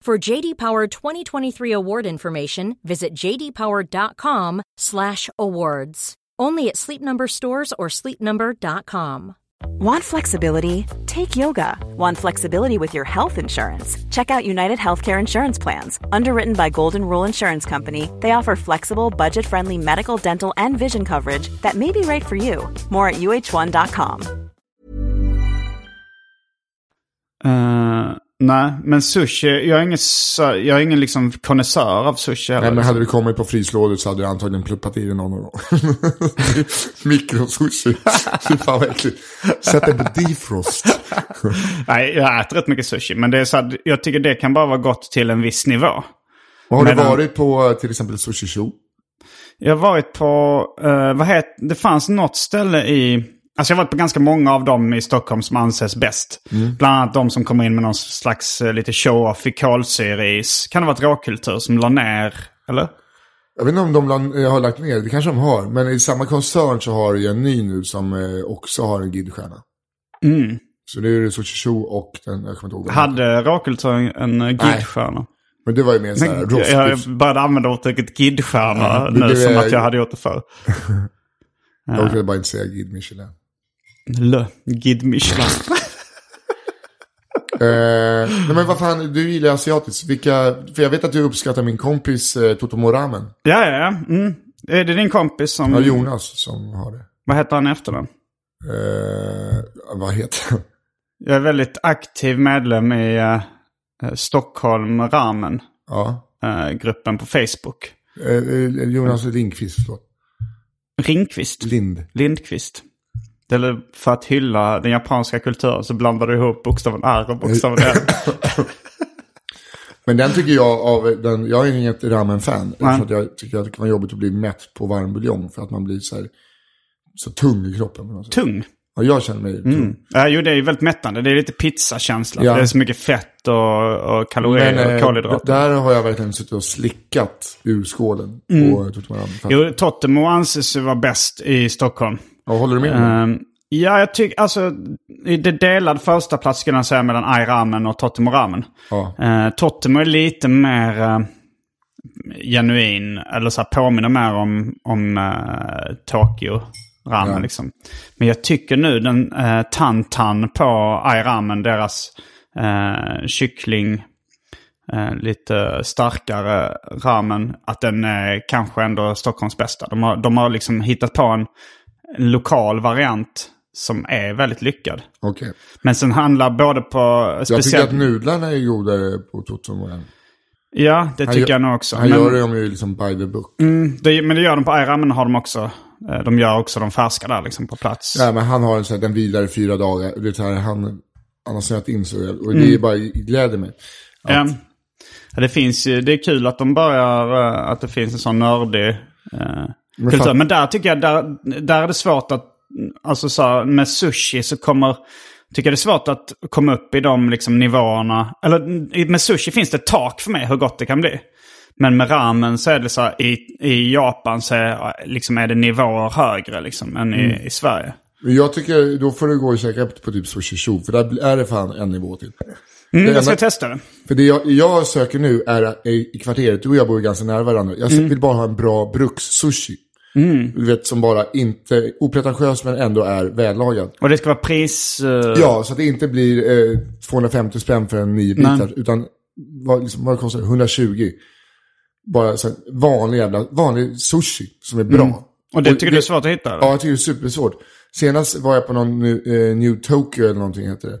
For JD Power 2023 award information, visit jdpower.com/awards. Only at Sleep Number stores or sleepnumber.com.
Want flexibility? Take yoga. Want flexibility with your health insurance? Check out United Healthcare Insurance Plans. Underwritten by Golden Rule Insurance Company, they offer flexible, budget friendly medical, dental, and vision coverage that may be right for you. More at uh1.com.
Eh, nej, men sushi, jag är ingen, sö- jag är ingen liksom konnässör av sushi.
Nej,
heller. liksom.
men hade du kommit på frislådet så hade du antagligen pluppat i dig någon gång. Mikrosushi. Fy fan vad äckligt. Sätt den på defrost.
Nej, jag äter rätt mycket sushi. Men det är så här, jag tycker det kan bara vara gott till en viss nivå.
Och har du
Medan-
varit på eh, till exempel Sushi Show?
Jag har varit på, eh, vad heter, det fanns något ställe i, alltså jag har varit på ganska många av dem i Stockholm som anses bäst.
Mm.
Bland annat de som kommer in med någon slags eh, lite show-off i kolsyreis. Kan det vara ett råkultur som la ner, eller?
Jag vet inte om de la- har lagt ner, det kanske de har. Men i samma koncern så har jag en ny nu som eh, också har en guidstjärna.
Mm.
Så det är ju Sushi Show och den, jag kommer inte ihåg. vad den heter.
Hade råkultur en eh, guidstjärna?
Men det var ju mer så här
Men jag
rostbiff.
började använda uttrycket guidstjärna
Ja, det
nu
blev-
som att jag hade gjort det förr.
Jag orkade bara inte säga Guide Michelin.
Le, guide Michelin.
Eh, nej men vad fan, du gillar asiatiskt. Vilka, för jag vet att du uppskattar min kompis eh, Totomo Ramen.
ja, ja, ja. Mm. Är det din kompis som,
Ja, Jonas som har det.
vad heter han efter den?
Eh, vad heter han?
Jag är väldigt aktiv medlem i eh, Stockholm Ramen,
Ja.
eh, gruppen på Facebook.
Eh, eh, Jonas Lindqvist, förlåt.
Ringqvist,
Lind.
Lindqvist. Eller för att hylla den japanska kulturen så blandar du ihop bokstaven R och bokstaven L.
Men den tycker jag av, den, jag är inget ramen-fan. För att jag tycker att det kan vara jobbigt att bli mätt på varm buljong. För att man blir så här, så tung i kroppen. på något sätt.
Tung.
Ja, jag känner mig tung.
Ja, jo, det är ju väldigt mättande. Det är lite pizzakänsla.
Ja.
Det är så mycket fett och, och kalorier
Men
och
eh, d-
kolhydrater.
där har jag verkligen suttit och slickat ur skålen på Totomo Ramen.
Jo, Totemo anses ju vara bäst i Stockholm.
Ja, håller du med?
Ehm, ja, jag tycker alltså... Det är delad första plats skulle jag säga mellan Ai Ramen och Totemo Ramen.
Ja.
Eh, Totemo är lite mer eh, genuin, eller så här, påminner mer om, om eh, Tokyo Ramen.
Ja.
Liksom. Men jag tycker nu den eh, Tantan på Ai Ramen, deras eh, kyckling, eh, lite starkare ramen, att den är kanske ändå Stockholms bästa. De har, de har liksom hittat på en lokal variant som är väldigt lyckad.
Okej.
Men sen handlar både på...
Jag tycker
Speciellt,
att nudlarna är godare på Totomo än...
Ja, det tycker jag nog också.
Han
Men- Mm.
gör dem ju liksom by the book.
Det, men det gör de på Aira, men har de också. eh, De gör också de färska där liksom på plats.
Nej, men han har en sån här, den vilar i fyra dagar. Det här, han, han har snöat in så väl. Och det är
Mm.
bara gläder mig.
Ja. Ehm, Ja, det, finns, ju- det är kul att de börjar, eh, att det finns en sån nördig eh,
Men
kultur.
fan-
Men där tycker jag, där, där är det svårt att, alltså så här, med sushi så kommer, tycker jag det är svårt att komma upp i de liksom nivåerna. Eller i- med sushi finns det ett tak för mig hur gott det kan bli. Men med ramen så är det så här, i, i Japan så är, liksom är det nivåer högre liksom än i,
Mm.
i Sverige.
Men jag tycker, då får du gå och käka på typ sushi show. För där är det fan en nivå till.
Mm,
Det
jag ska
enda-
testa det.
För det jag, jag söker nu är i i kvarteret, du och jag bor ju ganska nära varandra. Jag
Mm.
vill bara ha en bra bruks-sushi. Du vet, som bara inte, opretentiös men ändå är vällagad.
Och det ska vara pris... eh,
Ja, så att det inte blir eh, 250 spänn för en nio bitar, utan vad, liksom, vad kostar det? 120. Bara så här, vanlig jävla, vanlig sushi som är
Mm.
bra.
och det tycker du är svårt att hitta? eller?
Ja, jag tycker det är supersvårt. Senast var jag på någon nu- eh, New Tokyo eller någonting heter det.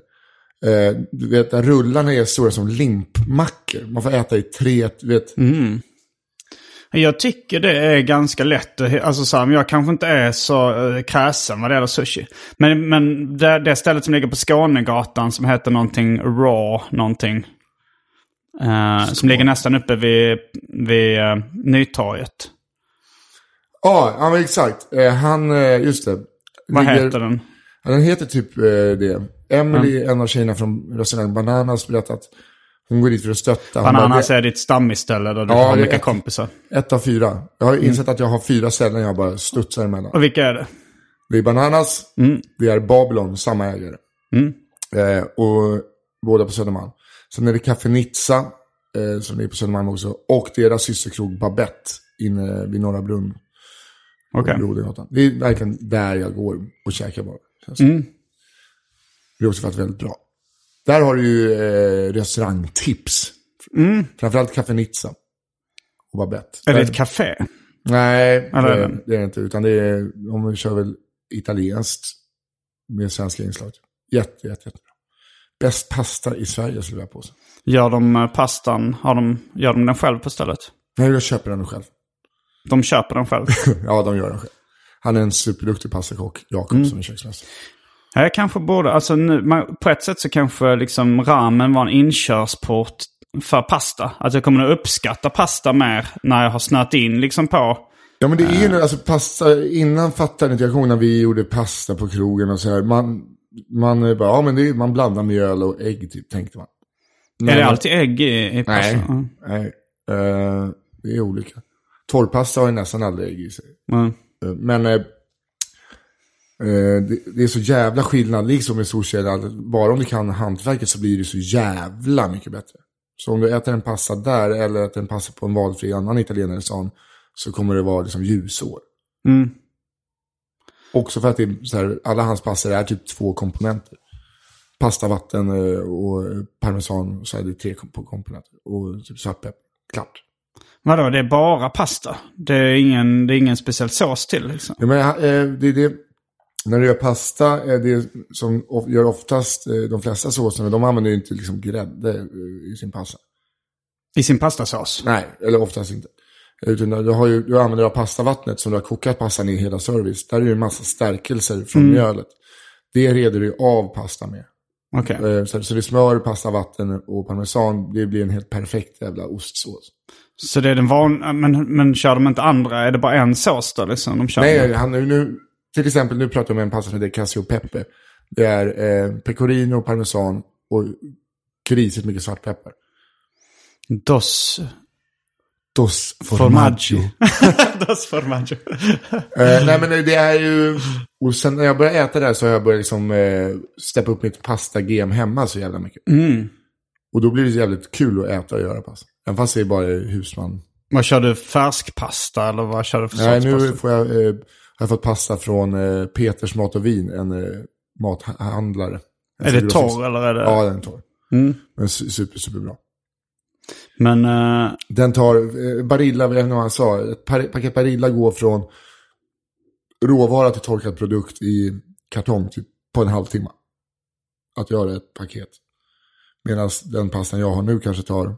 Eh, du vet, där rullarna är stora som limpmackor. Man får äta i tre, du vet.
Mm. Jag tycker det är ganska lätt. att- Alltså så här, men jag kanske inte är så eh, kräsen vad det gäller sushi. Men, men det, det stället som ligger på Skånegatan som heter någonting Raw någonting. eh, som ligger nästan uppe vid, vid eh, Nytorget.
Ja, ja men exakt. Eh, han, eh, just det.
Vad
Ligger-
heter den?
Ja, den heter typ eh, det. Emily, en av tjejerna från restaurang Bananas, berättat att hon går dit för att stötta. Hon
Bananas
bara,
är ditt stammisställe där du
Ja,
har
det är
mycket
ett-
kompisar.
ett av fyra. Jag har insett att jag har fyra ställen jag bara studsar emellan.
Och vilka är det?
Det är Bananas, det är Babylon, samma ägare. Eh, och båda på Södermalm. Sen är det Café Nizza, eh, som är på Södermalm också. Och deras systerkrog Babette, inne vid Norra Brunn.
Okej.
Brodengatan. Det är verkligen där jag går och käkar bara. känns det.
Mm.
Det är också faktiskt väldigt bra. Där har du ju eh, restaurangtips. Framförallt Café Nizza och Babette.
Mm. Är det
Där-
ett café?
Nej,
Eller är
det,
det?
det är det inte. Utan det är, de kör väl italienskt med svenska inslag. Jätte, jätte, jättebra. Bäst pasta i Sverige skulle jag vilja påstå.
Gör de eh, pastan, har de, gör de den själv på stället?
Nej, jag köper den själv.
De köper den själv.
ja, de gör den själv. Han är en superduktig pastakock, Jakob,
Mm.
som är köksmästare.
Ja, Jag kanske borde, alltså nu, man, på ett sätt så kanske liksom ramen var en inkörsport för pasta. Att jag kommer att uppskatta pasta mer när jag har snöat in liksom på.
Ja men det är ju nu, alltså pasta, innan fattade inte jag, jag kommer ihåg när vi gjorde pasta på krogen och så här. Man, man eh, bara, ja men det är, man blandar mjöl och ägg typ, tänkte man.
är det
Men-
alltid ägg i, i pasta?
Nej,
Mm.
nej. Eh, det är olika. Torrpasta har ju nästan aldrig ägg i sig.
Mm.
Eh, Men eh, eh, det, det är så jävla skillnad, liksom med sushi, eller allt. bara om du kan hantverket så blir det så jävla mycket bättre. Så om du äter en pasta där eller äter en pasta på en valfri annan italienare sån, så kommer det vara liksom ljusår.
Mm.
Också för att det är så här, alla hans passer är typ två komponenter. Pasta, vatten eh, och parmesan, och så är det tre kom- komponenter. Och typ svartpeppar. Klart.
Vadå, det är bara pasta? Det är ingen, det är ingen speciell sås till liksom?
Ja, men, eh, det är det, när du gör pasta, eh, det som of- gör oftast eh, de flesta såserna, de använder ju inte liksom grädde eh, i sin pasta.
I sin pastasås?
Nej, eller oftast inte. Utan du, har ju, du använder av pastavattnet som du har kokat pastan i hela service. Där är det en massa stärkelser från mjölet. Det reder du ju av pasta med.
Okej.
Eh, Så, så det är smör, pasta, vatten och parmesan. Det blir en helt perfekt jävla ostsås.
Så det är den vanliga, men, men kör de inte andra? Är det bara en sås då liksom? De kör
Nej, han, nu- nu, till exempel nu pratar jag om en pasta som heter Casio Pepe. Det är eh, pecorino, parmesan och grisigt mycket svartpeppar.
Dos
Dos
formaggio. Dos formaggio.
Eh, nej men det är ju... Och sen när jag började äta det här så har jag börjat liksom eh, steppa upp mitt pasta-game hemma så jävla mycket. Och då blir det jävligt kul att äta och göra pasta. Även fast det är bara husman.
Vad kör du? Färskpasta eller vad kör du för
Nej,
sorts
nu
pasta?
får jag, eh, har jag fått pasta från eh, Peters Mat och Vin, en eh, mathandlare. En
Är det
grossist.
torr eller är det...
Ja, den är torr. Men su- super, superbra.
Men eh,
Den tar, eh, Barilla, jag vet inte vad han sa, ett par, paket Barilla går från råvara till torkad produkt i kartong typ, på en halvtimme. Att göra ett paket. Medan den pastan jag har nu kanske tar,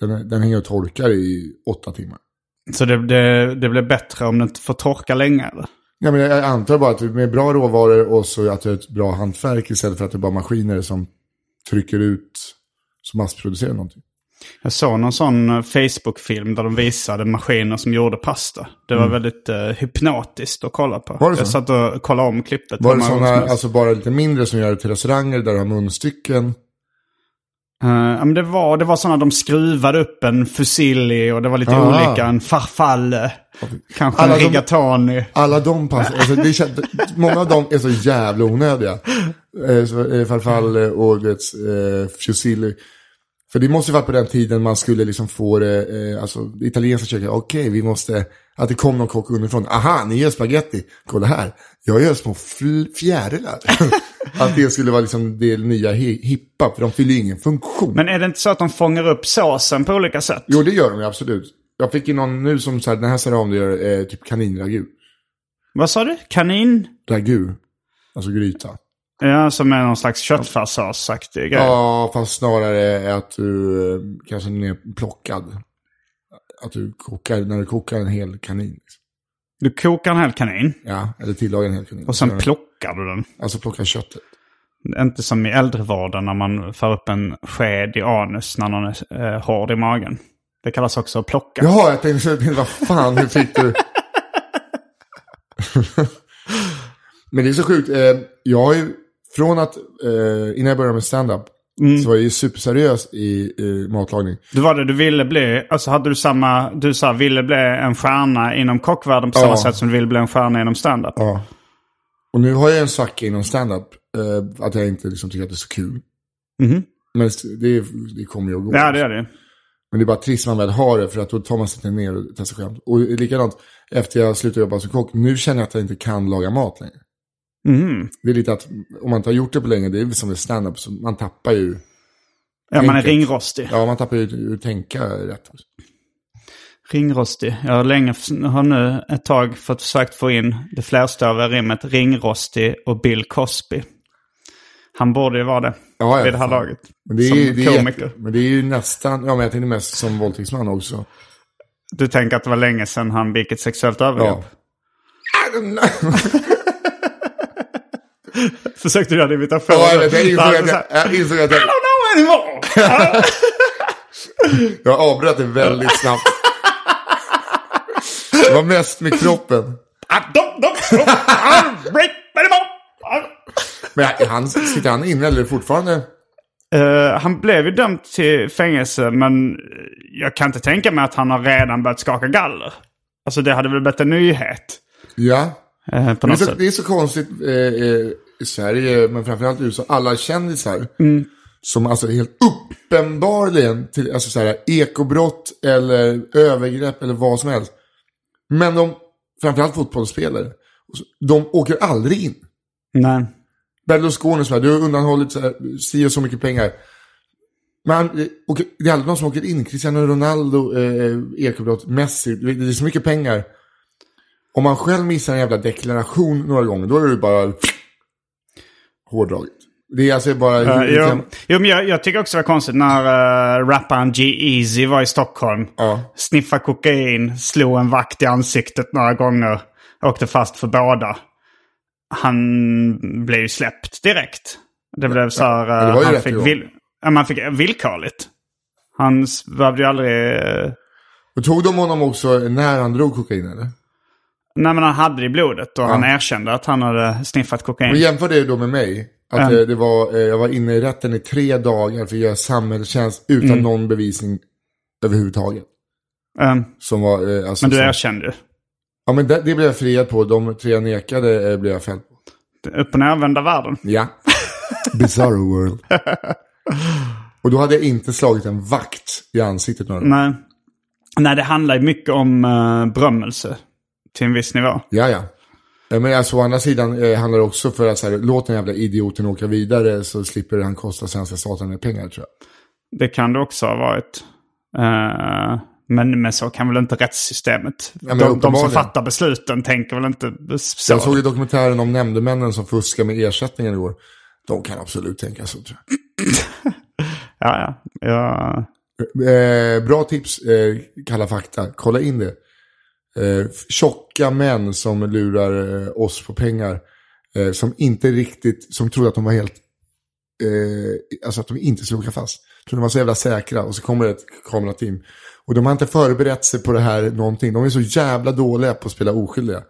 den, den hänger och torkar i åtta timmar.
så det, det, det blir bättre om det inte får torka länge eller?
Ja, men jag antar bara att med bra råvaror och så att det är ett bra hantverk istället för att det är bara maskiner som trycker ut, som massproducerar någonting.
Jag såg någon sån eh, Facebook-film där de visade maskiner som gjorde pasta. Det var väldigt eh, hypnotiskt att kolla på.
Mm. Var det så?
Jag satt och kollade om klippet.
Var det
hur många
sådana,
gånger som helst.
alltså bara lite mindre som gör det till restauranger där du har munstycken?
Eh, ja, men det var, det var sådana de skruvade upp en fusilli och det var lite
Ah.
olika. En farfalle, kanske
Alla
en
de-
rigatoni.
Alla de pass, alltså det känns, många av dem är så jävla onödiga. Eh, så, eh, Farfalle och du vet, eh, fusilli. För det måste ju varit på den tiden man skulle liksom få det, eh, alltså det italienska köket, okej vi måste, att det kom någon kock underifrån, aha ni gör spaghetti, kolla här, jag gör små fl- fjärilar. att det skulle vara liksom det nya hi- hippa, för de fyller ju ingen funktion.
Men är det inte så att de fångar upp såsen på olika sätt?
Jo det gör de ju absolut. Jag fick ju någon nu som sa, den här ser om det gör eh, typ kaninragu.
Vad sa du? Kanin?
Ragu, alltså gryta.
Ja, som är någon slags köttfärssåsaktig grej.
Ja, fast snarare att du eh, kanske den är plockad. Att du kokar, när du kokar en hel kanin. liksom.
Du kokar en hel kanin
Ja, eller tillagar en hel kanin.
och sen
Ja,
plockar du den.
Alltså plocka köttet.
Inte som i äldrevården när man för upp en sked i anus när någon är eh, hård i magen. Det kallas också att plocka.
Jaha, jag tänkte, jag tänkte vad fan, hur fick du? Men det är så sjukt. eh, Jag har ju, från att, eh, innan jag började med stand-up,
Mm.
så var jag ju superseriös i eh, matlagning.
Du var det du ville bli. Alltså hade du samma... Du sa ville bli en stjärna inom kockvärlden på samma
Ja.
sätt som du ville bli en stjärna inom standup.
Ja. Och nu har jag en svacka inom standup. Eh, att jag inte liksom tycker att det är så kul.
Mhm.
Men det, det kommer ju att gå.
Ja, det är det.
Men det är bara trist när man väl har det, för att då tar man sig ner och testar skämt. Och likadant, efter jag slutade jobba som kock, nu känner jag att jag inte kan laga mat längre.
Mhm.
Det är lite att, om man inte har gjort det på länge, det är som med stand-up, så man tappar ju,
Ja, man är
Enkelt.
ringrostig.
ja man tappar ju hur tänka rätt.
Ringrostig. Jag har länge, har nu ett tag fått försökt få in det flerstaviga rimmet ringrostig och Bill Cosby. Han borde ju vara det
Ja, ja,
vid det här
fan.
laget.
Men det, är, ju-
som
det, är,
komiker.
jätte- men det är ju nästan, ja men jag tänkte mest som våldtäktsman också.
Du tänker att det var länge sedan han begick ett sexuellt övergrepp?
Ja.
Försökte du göra det i imitation?
Ja, jag, vet, jag, insåg
Så
att
han så
jag,
här,
jag insåg att jag,
I don't know anymore!
jag avbröt det väldigt snabbt. Det var mest med kroppen.
I don't know, I don't break anymore!
Men han, sitter han inne eller fortfarande?
Eh, han blev ju dömd till fängelse men jag kan inte tänka mig att han har redan börjat skaka galler. Alltså det hade väl blivit en nyhet
Ja.
eh, på
Men
något
det, är så,
sätt.
det är så konstigt eh, eh, i Sverige, men framförallt i USA, alla kändisar. Som alltså helt uppenbarligen, till, alltså så här, ekobrott eller övergrepp eller vad som helst. Men de, framförallt fotbollsspelare, och så- de åker aldrig in.
Nej.
Berlusconi så här, du har undanhållit så här, si och så mycket pengar. Men han, eh, åker, det är aldrig någon som åker in. Cristiano Ronaldo, eh, ekobrott, Messi, det det är så mycket pengar. Om man själv missar en jävla deklaration några gånger, då är det bara hårdraget. Det är alltså bara...
Eh, jo, jo, men jag, jag tycker också det var konstigt när uh, rapparen G-Eazy var i Stockholm.
Ja.
Sniffade kokain, slog en vakt i ansiktet några gånger. Åkte fast för båda. Han blev ju släppt direkt. Det blev så här... eh,
men det var ju
han
rätt
fick
igång.
vill, ja, man fick villkorligt. Han s- behövde ju aldrig... eh,
Och tog de honom också när han drog kokain eller?
Nej men han hade det i blodet och han erkände att han hade sniffat kokain.
Men jämför det då med mig. Att eh, det var, eh, jag var inne i rätten i tre dagar för att göra samhällstjänst utan
Mm.
någon bevisning överhuvudtaget.
Eh,
Som var, eh, alltså,
men du
som-
erkände ju.
Ja, men det, det blev jag friad på. De tre jag nekade eh, blev jag fälld på.
Upp och nervända världen.
Ja. Bizarro world. Och då hade jag inte slagit en vakt i ansiktet några gånger.
Nej. Nej, det handlar ju mycket om uh, berömmelse. Till en viss nivå.
Ja, ja. Eh, Men alltså, å andra sidan eh, handlar det också för att så här, låt den jävla idioten åka vidare så slipper han kosta svenska staten med pengar tror jag.
Det kan det också ha varit. Eh, men, men så kan väl inte rättssystemet.
men
de, de som
uppenbarligen.
fattar besluten tänker väl inte så.
Jag såg ju dokumentären om nämndemännen som fuskar med ersättningen igår. De kan absolut tänka så tror jag.
Ja, ja. ja.
Eh, bra tips, eh, Kalla fakta. Kolla in det. Eh, tjocka män som lurar eh, oss på pengar. Eh, som inte riktigt, som trodde att de var helt, eh, alltså att de inte skulle åka fast. Trodde de var så jävla säkra och så kommer det ett kamerateam. Och de har inte förberett sig på det här någonting. De är så jävla dåliga på att spela oskyldiga.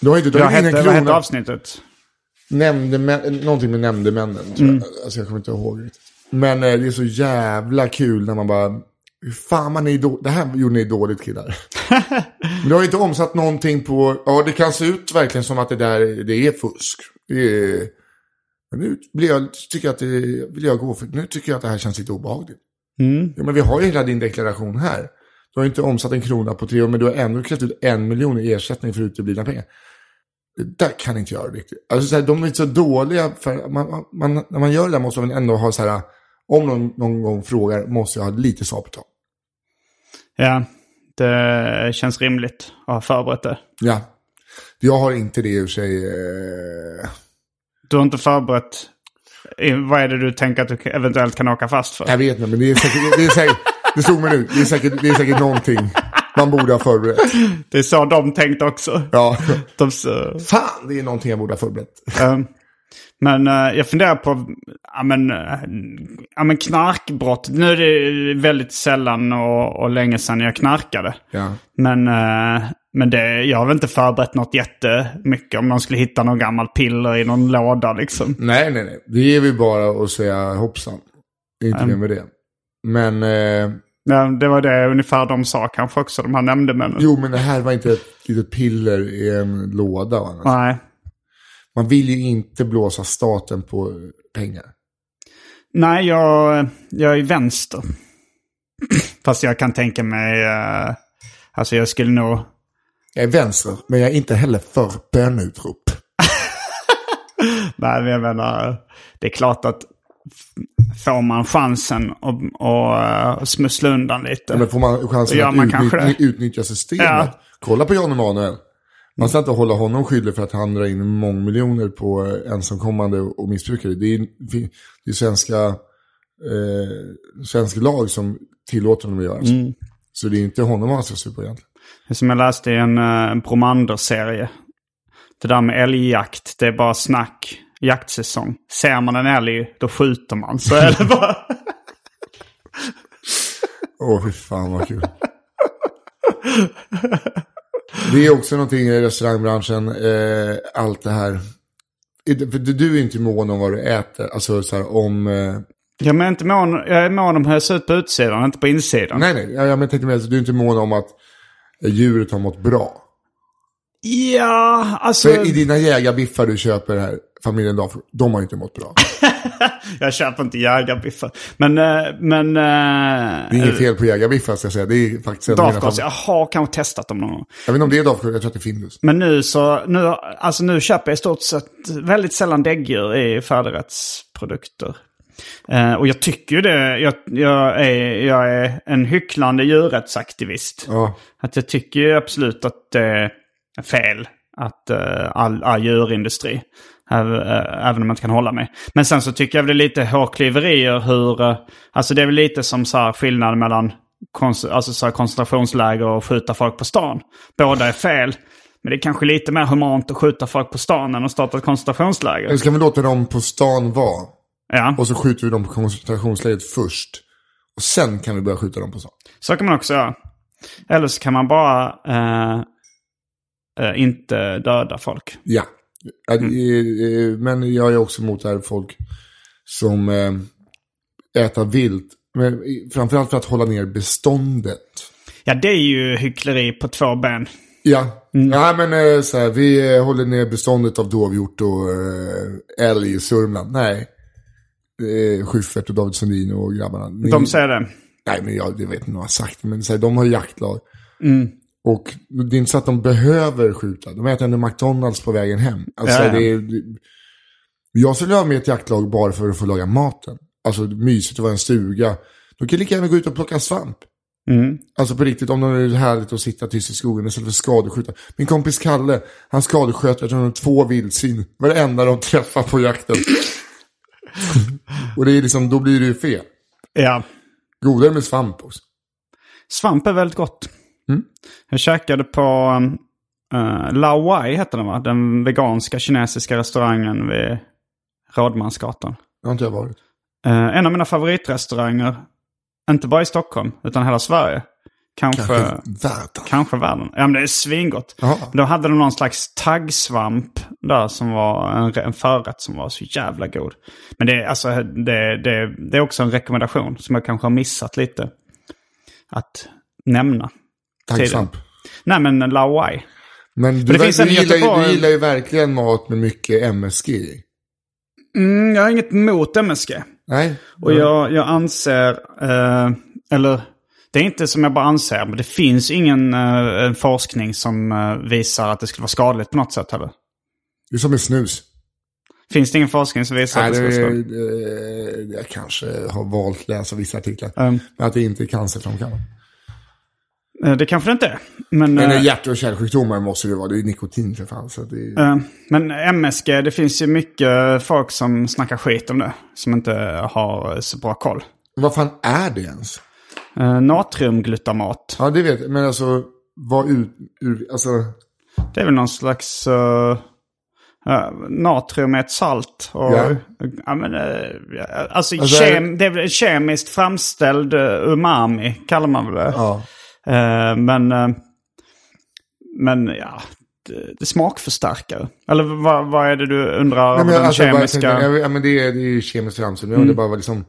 De har inte
Vad
dragit in en
Mm. hette, vad hette
krona.
avsnittet?
Nämndemän, eh, någonting med nämndemännen. tror jag. Alltså jag kommer inte ihåg riktigt. Men eh, det är så jävla kul när man bara, "Hur fan man är då- det här gjorde ni dåligt killar. Men du har ju inte omsatt någonting på, ja det kan se ut verkligen som att det där, det är fusk. Det är, men nu blir jag, tycker jag att det, vill jag gå för, nu tycker jag att det här känns lite obehagligt.
Mm.
Ja, men vi har ju hela din deklaration här. Du har ju inte omsatt en krona på tre år, men du har ändå krävt ut en miljon i ersättning för uteblivna pengar. Det där kan inte jag riktigt. Alltså, så här, de är inte så dåliga. För man, man- man, när man gör det där måste man ändå ha så här, om någon, någon gång frågar måste jag ha lite svar
Ja, det känns rimligt att ha förberett det.
Ja. Jag har inte det i och för sig. Eh...
Du har inte förberett... eh, Vad är det du tänker att du eventuellt kan åka fast för?
Jag vet inte, men det är säkert, det, är säkert, det slog mig nu. Det är säkert, det är säkert någonting man borde ha förberett.
Det är så de tänkte också.
Ja.
De, s-
Fan, det är någonting jag borde ha förberett.
Ehm, Men eh, jag funderar på, ja men, eh, ja men knarkbrott. Nu är det väldigt sällan och, och länge sedan jag knarkade.
Ja.
Men, eh, men det, jag har väl inte förberett något jättemycket om någon skulle hitta någon gammal piller i någon låda liksom.
Nej, nej, nej. Det är väl bara att säga hoppsan. Det är inte mer med det. Men, eh,
Ja, det var det ungefär de sa kanske också, de här nämndemännen.
jo men det här var inte ett litet piller i en låda. va?
Nej.
man vill ju inte blåsa staten på pengar.
Nej, jag, jag är vänster. Fast jag kan tänka mig... eh, Alltså jag skulle nog...
Jag är vänster, men jag är inte heller för bönutrop.
Nej, men jag menar... Det är klart att f- får man chansen att och, eh, smussla undan lite.
Ja, men får man chansen
Ja,
att
man kanske
utnyttja,
det.
utnyttja systemet.
Ja.
Kolla på Jan Emanuel. Man ska inte hålla honom skyldig för att han drar in mångmiljoner på eh, ensamkommande och missbrukare. Det är, det är svenska, eh, svenska lag som tillåter honom att göra så.
Mm.
Så det är inte honom man ska se på egentligen.
Som jag läste i en, eh, en Bromander-serie. Det där med älgjakt, det är bara snack. Jaktsäsong. Ser man en älg, då skjuter man. Så är det bara.
Åh, fy fan vad kul. Det är också någonting i restaurangbranschen, eh, allt det här. För du är inte mån om vad du äter, alltså så här om... Eh,
Jag, men inte mån, jag är mån om hur jag ser ut på utsidan, inte på insidan.
nej, nej, ja, men jag tänkte mer, så du är inte mån om att djuret har mått bra.
Ja, alltså...
För i dina jägarbiffar du köper här, familjen Dahfors, de har ju inte mått bra.
Jag köper inte jägarbiffar. Men... eh, men
Det är inget fel på jägarbiffar ska jag säga, det är faktiskt en av mina
Dafgårds,
favoriter.
jag har kanske testat dem någon gång.
Jag vet inte om det är Dahfors, jag tror att det är Findus.
Men nu så, nu, alltså nu köper jag i stort sett väldigt sällan däggdjur i färdigrättsprodukter. Eh, och jag tycker ju det, jag, jag, är, jag är en hycklande djurrättsaktivist.
Ja.
Att jag tycker ju absolut att det är fel att eh, all, all djurindustri. Äv- eh, Även om man inte kan hålla med. Men sen så tycker jag väl det är lite hårklyverier hur... eh, Alltså det är väl lite som så här skillnad mellan konc- alltså så här koncentrationsläger och skjuta folk på stan. Båda är fel. Men det är kanske lite mer humant att skjuta folk på stan än att starta ett koncentrationsläger.
Nu ska vi låta dem på stan vara.
Ja,
Och så skjuter vi dem på koncentrationslägret först. Och sen kan vi börja skjuta dem på stan.
så kan man också göra. Eller så kan man bara eh, eh, inte döda folk.
Ja. Ja, det är- eh, Men jag är också emot det här folk som eh, äter vilt. Men i- framförallt för att hålla ner beståndet.
Ja, det är ju hyckleri på två ben.
Ja,
Mm.
Nej, men eh, så här, vi eh, håller ner beståndet av dovhjort och eh, älg i Sörmland. Nej. Eh, Schyffert och David Sundin och grabbarna. Ni-
De säger det.
Nej, men jag, jag vet inte vad jag har sagt. Men så här, de har ju jaktlag.
Mm.
Och det är inte så att de behöver skjuta. De äter ändå McDonalds på vägen hem. Alltså,
Ja, ja.
Det är, det, jag skulle ha med ett jaktlag bara för att få laga maten. Alltså det är mysigt att vara i en stuga. De kan lika gärna gå ut och plocka svamp.
Mm.
Alltså på riktigt, om det är härligt att sitta tyst i skogen istället för skadeskjuta. Min kompis Kalle, han skadesköt jag tror det var två vildsvin. Varenda de träffar på jakten. och det är liksom, då blir det ju fel.
Ja.
Godare med svamp också.
Svamp är väldigt gott.
Mm.
Jag käkade på uh, Lao Wai, heter den va? Den veganska kinesiska restaurangen vid Rådmansgatan.
Det har inte jag varit.
Eh, en av mina favoritrestauranger, inte bara i Stockholm, utan hela Sverige. Kanske, kanske,
Värtan.
världen. Ja, men det är svingott.
Ja.
Då hade de någon slags taggsvamp där som var en, en förrätt som var så jävla god. Men det, är- alltså, det, det, det är också en rekommendation som jag kanske har missat lite att nämna.
Tacksvamp.
Nej men Lawai.
Men du,
det finns en
du,
i
gillar ju,
Göteborg-
du gillar ju verkligen mat med mycket MSG i.
Mm, jag har inget emot MSG.
Nej,
Och jag, jag anser, eh, eller det är inte som jag bara anser, men det finns ingen eh, forskning som eh, visar att det skulle vara skadligt på något sätt heller.
det är som med snus.
Finns det ingen forskning som visar
Nej,
att
det,
det skulle vara skadligt?
eh, jag kanske har valt att läsa vissa artiklar.
Um.
Men att det inte är cancerframkallande.
Eh, Det kanske det inte är. Men,
Men
eh,
eh, hjärt och kärlsjukdomar måste det vara. Det är nikotin för fan. Så att det,
Eh, Men MSG, det finns ju mycket folk som snackar skit om det. Som inte har eh, så bra koll.
Vad fan är det ens?
Eh, Natriumglutamat.
Ja, det vet jag. Men alltså, vad ut... Ur, alltså,
Det är väl någon slags... eh, eh, natrium är ett salt. Och,
Ja.
ja, men, eh, ja, alltså,
Alltså,
kem, det är väl kemiskt framställd eh, umami, kallar man väl det.
ja.
Eh, men, eh, men ja, det, det smakförstärkare. Eller vad, vad är det du undrar
Nej,
om
men,
den
alltså, jag bara
kemiska... Mm.
tänkte- jag- ja, men det, är, det är ju kemiskt framställt. Men Jag undrar bara liksom...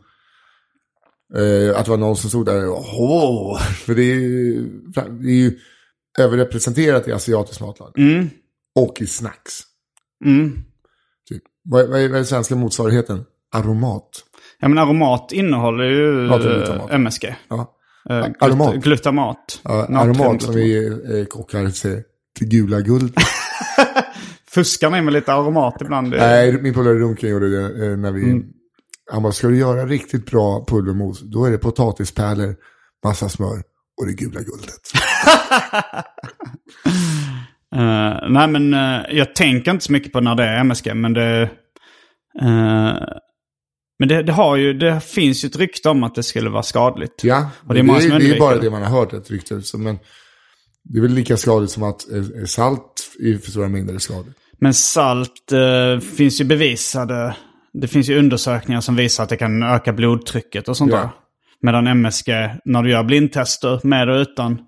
eh, att det var någon som stod där och "Åh", För det är, ju, det är ju överrepresenterat i asiatisk matlagning. Och i snacks.
Mm.
Typ. Vad, vad, är, vad är den svenska motsvarigheten? Aromat.
Ja men aromat innehåller ju
Ja, det är glutamat.
eh, MSG.
Ja.
Eh,
A-
glut-
aromat.
Glutamat.
Ja,
Natrium-
aromat som vi eh, kockar säger. Till gula guld.
Fuskar mig med lite aromat ibland.
Nej, min polare Runken gjorde det eh, när vi...
Mm.
Han bara, ska du göra riktigt bra pulvermos, då är det potatispärlor, massa smör och det gula guldet.
Eh, nej men eh, jag tänker inte så mycket på när det är MSG men det... eh, men det, det har ju, det finns ju ett rykte om att det skulle vara skadligt.
Ja,
Och
men
det
det
är
är,
många
det
som
är, ju
undviker
bara
det.
det man har hört ett rykte ut som, men det är väl lika skadligt som att eh, salt i för stora mängder är skadligt.
Men salt eh, finns ju bevisade. Det finns ju undersökningar som visar att det kan öka blodtrycket och sånt
Ja.
där. Medan MSG, när du gör blindtester med och utan,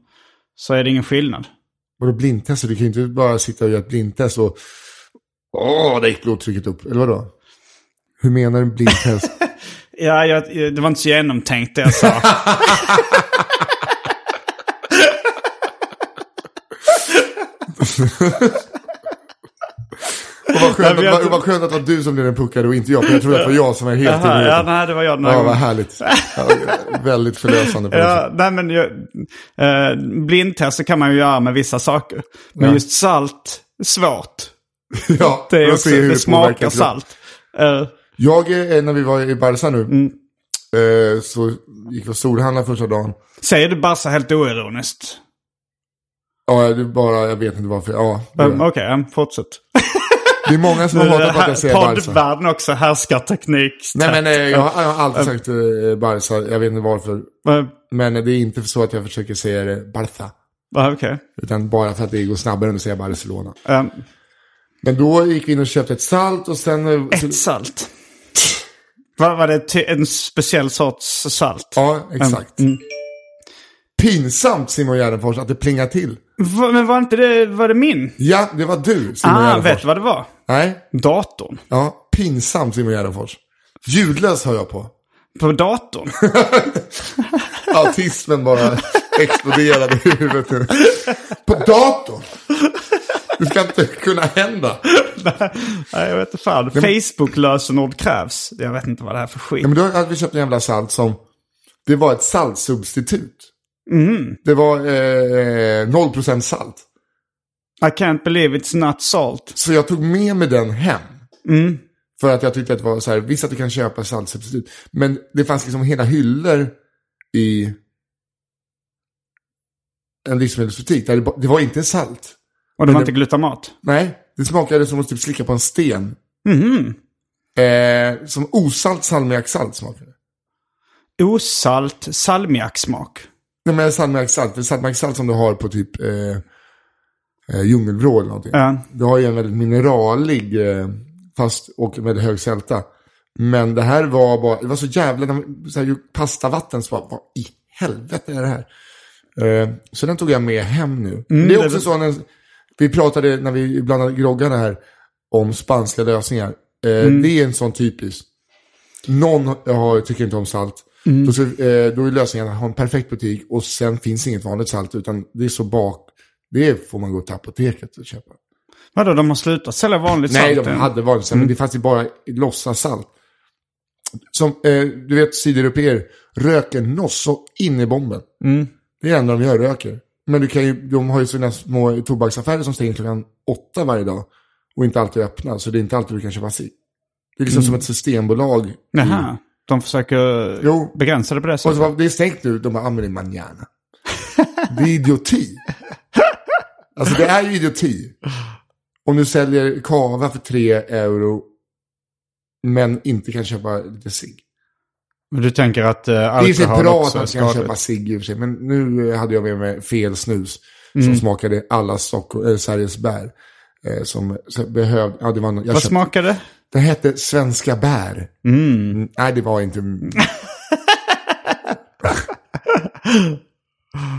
så är det ingen skillnad.
Vadå blindtester? Du kan ju inte bara sitta och göra ett blindtest och åh, där gick blodtrycket upp. Eller vadå? Hur menar du en blindtest?
Ja, jag, det var inte så genomtänkt det jag sa.
och vad skönt,
Jag vet
att, vad,
inte.
vad skönt att det var du som blev den puckade och inte jag, för jag trodde att det var jag som var helt
Jaha, ja,
medveten.
nej, det var jag den här
Ja, vad
gången.
härligt. Ja, väldigt förlösande på
Ja,
ja.
nej men jag, eh, blindtester kan man ju göra med vissa saker. Men
Ja.
just salt, svårt.
ja,
Det,
för
är
att
också,
se hur
det
påverkar
smakar
kroppen.
salt. Eh,
Jag, eh, när vi var i Barca nu,
Mm.
eh, så gick vi och storhandlade första dagen.
säger du bara så helt oironiskt?
Ja, det är bara, jag vet inte varför. Ja, det,
Um,
är-
Okej, ja, fortsätt. eh,
det är många som har hatat på att jag säger Barca.
Poddvärlden också, härskarteknik.
Nej, men eh, jag har, jag har alltid
Mm.
sagt eh, Barca, jag vet inte varför.
Eh,
Men eh, det är inte så att jag försöker säga det Barca.
ah, Okej.
Utan bara för att det går snabbare än att säga Barcelona.
Ehm,
Men då gick vi in och köpte ett salt och sen... eh, så-
ett salt. Vad var det? Ty- en speciell sorts salt?
Ja, exakt. Pinsamt Simon Gärdenfors att det plingar till.
Va, men var inte det, var det min?
Ja, det var du Simon
Ah,
Gärdenfors.
vet du vad det var?
Nej,
Datorn.
ja, pinsamt Simon Gärdenfors. Ljudlös hör jag på.
På datorn.
Autismen bara exploderade i huvudet nu. På datorn! Det ska inte kunna hända.
Nej, jag vet inte fan. Facebook-lösenord krävs. Jag vet inte vad det här är för skit.
Ja, men då hade vi köpt en jävla salt som... Det var ett saltsubstitut. Det var eh, 0% salt.
I can't believe it's not salt.
Så jag tog med mig den hem. För att jag tyckte att det var så här, visst att du kan köpa saltsubstitut. Men det fanns liksom hela hyllor i en livsmedelsbutik. Där det, ba- det var inte salt.
Och det var inte glutamat.
Nej, det smakade som att typ slicka på en sten.
Mhm.
Eh, som osalt salmiaksalt smakade det.
Osalt salmiaksmak.
Nej men salmiaksalt, för salmiaksalt som du har på typ eh, eh, djungelvrå eller någonting.
Ja.
Det har ju en väldigt mineralig, eh, fast och med hög sälta. Men det här var bara, det var så jävla, de- så här, ju pastavatten, så bara, vad i helvete är det här? Eh, så den tog jag med hem nu. Mm, det är också så, när, vi pratade när vi blandade groggarna här om spanska lösningar. Eh, Det är en sån typisk. Någon har, tycker inte om salt. Då, ska, eh, då är lösningen att ha en perfekt butik och sen finns inget vanligt salt utan det är så bak. Det får man gå till apoteket och köpa.
Vadå, de har slutat sälja vanligt
Nej,
salt?
de
än?
hade vanligt salt, men det fanns ju bara låtsassalt. Som, eh, du vet, sydeuropeer röker nosso in i bomben. Det är det enda de gör, röker. Men du kan ju, de har ju sina små tobaksaffärer som stänger klockan åtta varje dag. Och inte alltid öppna, så det är inte alltid du kan köpa cigg. Det är liksom som ett systembolag.
Jaha. De försöker
Jo.
begränsa det på det
Och
sättet.
så bara, det är stängt nu, de bara använder manjana. Det är idioti. Alltså det är ju idioti. Om du säljer kava för 3 euro men inte kan köpa lite cigg.
Men Du tänker att eh,
Det är ju så
alkohol
bra att
också är
man kan köpa
skadligt?
cigg i och för sig, men nu hade jag med mig fel snus
Mm.
som smakade alla Stockholm, äh, Sveriges bär. Eh, som som behövde, ja det var någon- jag
Vad
köpte,
smakar det?
det hette svenska bär. Mm, Nej, det var inte...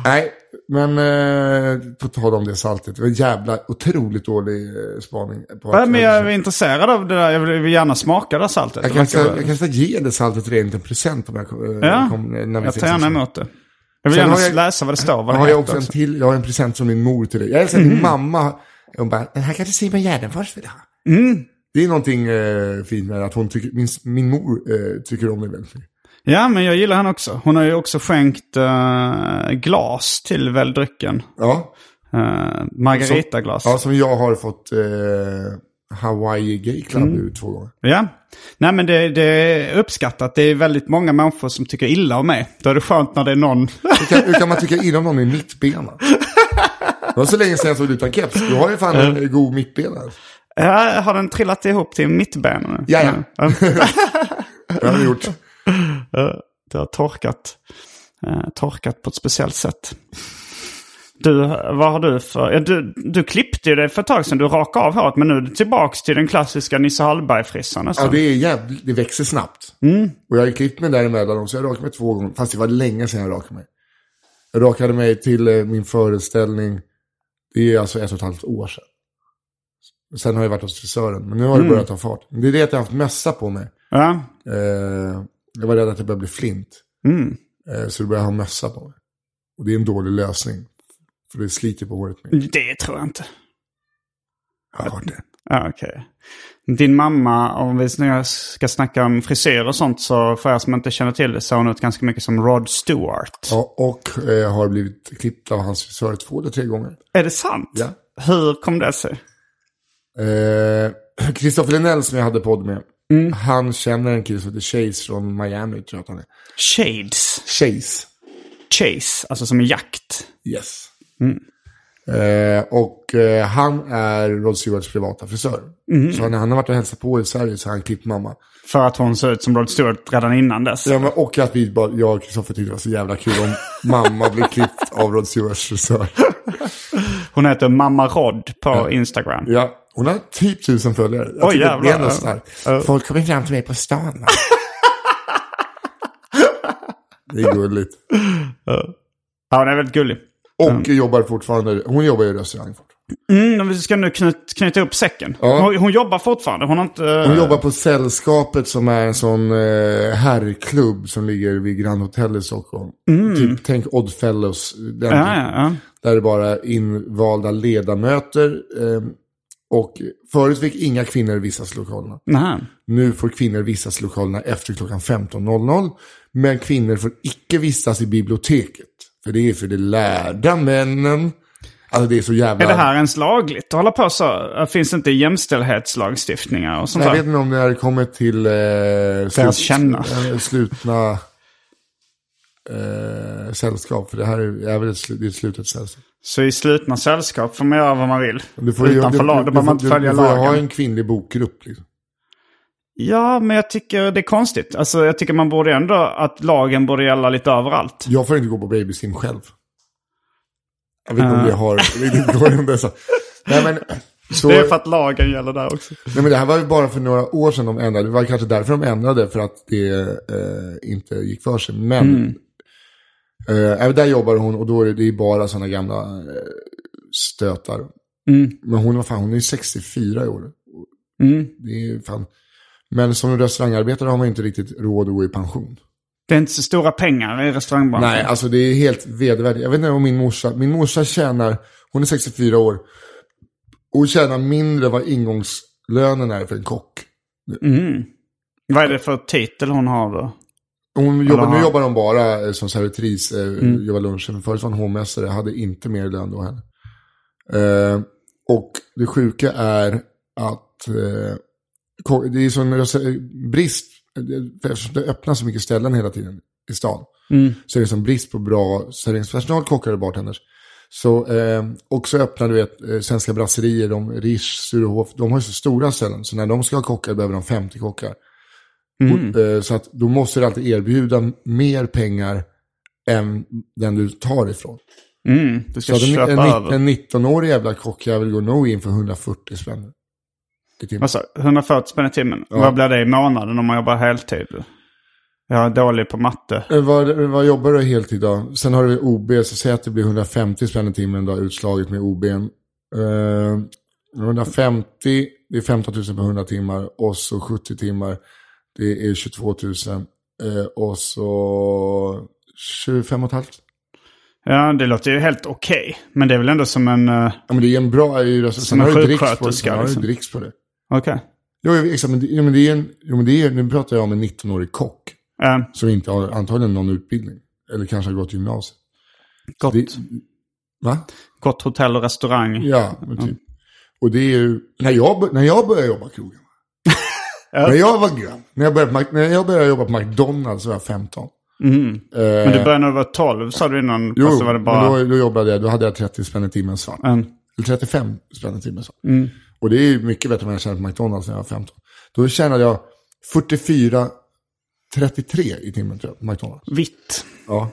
Nej, men eh, på tal om det saltet. Det var en jävla otroligt dålig eh, spaning. På
Ja, men jag är intresserad av det där. Jag vill- jag vill gärna smaka det här saltet.
jag
Det
kan
verkar
säga-
väl-
jag kan säga ge det saltet rent en present om jag kom, eh,
Ja,
kom, eh, när vi
jag
ses
tar gärna
sen.
emot det. Jag vill
Sen
gärna
har jag-
läsa vad det står, vad
Jag
det Mm.
har
heter
jag också en till, jag har en
Mm.
present som min mor till dig. Jag älskar att min mamma, hon bara, den här kanske Simon Gärdenfors vill ha. Det är någonting eh, fint med att hon tycker, min, min mor eh, tycker om mig väldigt mycket.
Ja, men jag gillar henne också. Hon har ju också skänkt eh, glas till väl drycken.
Ja,
Eh, Margaritaglas.
ja, som jag har fått eh, Hawaii Gay Club nu två gånger.
Ja. Nej men det, det är uppskattat. Det är väldigt många människor som tycker illa om mig. Då är det skönt när det är någon.
Hur kan, hur kan man tycka illa om någon i mittbena? Det var så länge sedan jag såg dig utan keps. Du har ju fan en god mittbena.
Ja, har den trillat ihop till mittben nu?
Ja, ja. Det har du gjort.
Eh, Det har torkat. eh, Torkat på ett speciellt sätt. Du, vad har du för... Ja, du, du klippte ju det för ett tag sedan. Du rakade av håret. Men nu är du tillbaka till den klassiska Nisse Hallberg-frissan
Ja,
nästan.
det är jävligt, det växer snabbt. Och jag har ju klippt mig däremellan också. Jag rakade mig två gånger, fast det var länge sedan jag rakade mig. Jag rakade mig till eh, min föreställning, det är alltså ett och ett halvt år sedan. Sen har jag varit hos frisören, men nu har det börjat ta fart. Men Det är det att jag har haft mössa på mig.
Ja.
Eh, jag var rädd att jag började bli flint.
Mm.
Eh, så då började jag ha mössa på mig. Och det är en dålig lösning. För det sliter på håret. mer.
Det tror jag inte.
Jag har hört det.
Ja, okej. Din mamma, om vi nu ska snacka om frisyr och sånt, så för er som inte känner till det ser hon ut ganska mycket som Rod Stewart.
Ja, och eh, har blivit klippt av hans frisör två eller tre gånger.
Är det sant?
Ja.
Hur kom det sig?
Eh, Christopher Linnell som jag hade podd med. Han känner en kille som heter Chase från Miami, tror jag att han är.
Shades.
Chase.
Chase, alltså som en jakt.
Yes. Eh, och eh, han är Rod Stewarts privata frisör. Så när han har varit och hälsat på i Sverige så har han klippt mamma.
För att hon ser ut som Rod Stewart redan innan dess.
Ja, men, och att vi bara, jag och Kristoffer tyckte det var så jävla kul om mamma blir klippt av Rod Stewarts frisör.
Hon heter Mamma Rod på Instagram.
Ja, hon har typ tusen följare. Jag
Oj,
tycker det
jävlar.
är ändå starkt. Folk kommer fram till mig på stan. Va? det är gulligt.
Ja, hon är väldigt gullig.
Och jobbar fortfarande, hon jobbar i restaurang fortfarande.
Mm, om vi ska nu knut, knyta upp säcken.
Ja.
Hon, hon jobbar fortfarande. Hon har inte... eh,
Hon jobbar på Sällskapet som är en sån eh, herrklubb som ligger vid Grand Hotel i Stockholm. Typ, tänk Oddfellows. Den
Mm. Ja, ja, ja.
Där det bara är invalda ledamöter. Eh, och förut fick inga kvinnor vistas i lokalerna.
Nähä.
Nu får kvinnor vistas i lokalerna efter klockan 15.00. Men kvinnor får icke vistas i biblioteket. För det är för de lärda männen. Alltså det är så jävla...
Är det här ens lagligt att hålla på så? Finns inte jämställdhetslagstiftningar och sånt
Jag
där?
vet inte om det här kommer till eh,
känna.
eh, slutna eh, sällskap. För det här är, är väl ett, slu- det är ett slutet sällskap.
Så i slutna sällskap får man göra vad man vill.
Men Du ju-
Utanför
du-
lag,
du-
då behöver man
du-
inte följa
du får ju ha
lagen.
en kvinnlig bokgrupp. Liksom.
Ja, men jag tycker det är konstigt. Alltså jag tycker man borde ändå att lagen borde gälla lite överallt.
Jag får inte gå på babysim själv. Jag vet inte
Ah.
om det har... Det går ändå så. Nej, men, så,
Det är för att lagen gäller där också.
nej, men det här var ju bara för några år sedan de ändrade. Det var kanske därför de ändrade, för att det eh, inte gick för sig. Men
Mm.
eh, även där jobbar hon och då är det, det är bara sådana gamla eh, stötar.
Mm.
Men hon, vad fan, hon är ju 64 i år. Det är ju fan... Men som restaurangarbetare har man inte riktigt råd att gå i pension.
Det är inte så stora pengar i restaurangbranschen.
Nej, alltså det är helt vedervärdigt. Jag vet inte om min morsa, min morsa tjänar, hon är 64 år, och hon tjänar mindre vad ingångslönen är för en kock.
Mm. Vad är det för titel hon har då?
Hon jobbar, nu
har-
jobbar hon bara eh, som servitris, eh, jobbar lunchen. Förut var hon hovmästare, hade inte mer lön då heller. Eh, och det sjuka är att eh, ko- det är sån res- brist, eh, eftersom det öppnas så mycket ställen hela tiden i stan. Så är det som brist på bra serveringspersonal, kockar och bartenders. Så eh, också öppnar du vet, eh, svenska brasserier, de, Rish, Sturehof, de har ju så stora ställen. Så när de ska ha kockar behöver de 50 kockar. Och,
Mm.
eh, Så att då måste du alltid erbjuda mer pengar än den du tar ifrån.
Mm, du
Så
ska
att en,
köpa
en,
över.
en 19-årig jävla kockjävel går nog in för 140 spänn. i timmen.
Vad sa du? 140 spänn i timmen? Vad blir det i månaden om man jobbar heltid? Jag är dålig på matte.
Eh, Vad, vad jobbar du heltid då? Sen har du OB, så säg att det blir 150 spänn i timmen då, utslaget med OB. Eh, 150, det är 15 000 på 100 timmar och så 70 timmar, det är 22 000. Eh, och så 25 och ett halvt.
Ja, det låter ju helt okej. Men det är väl ändå som en... eh,
Ja, men det är en bra... Sen
en
har du dricks på det.
sjuksköterska,
Sen har du
liksom.
dricks på det.
Okej.
Jo, exakt, men det, jo, men det är en, jo, men det är, nu pratar jag om en 19-årig kock.
Eh,
Som inte har antagligen någon utbildning. Eller kanske har gått gymnasiet.
gott,
Det, va?
gott hotell och restaurang.
Ja, men typ. Och det är ju, när jag, bör- när jag började jobba krogen. När jag var grann, när jag, började, på Mac- när jag började jobba på McDonalds var jag 15.
Men du började när du var 12, sa du innan.
Jo,
fast det var det bara...
men då, då jobbade jag, då hade jag 30 spänn i timmen svart.
Mm.
Eller 35 spänn i timmen svart. Och det är ju mycket bättre än vad jag tjänade på McDonalds när jag var 15. Då tjänade jag 44, 33 i timmen tror jag, på McDonalds.
Vitt.
Ja.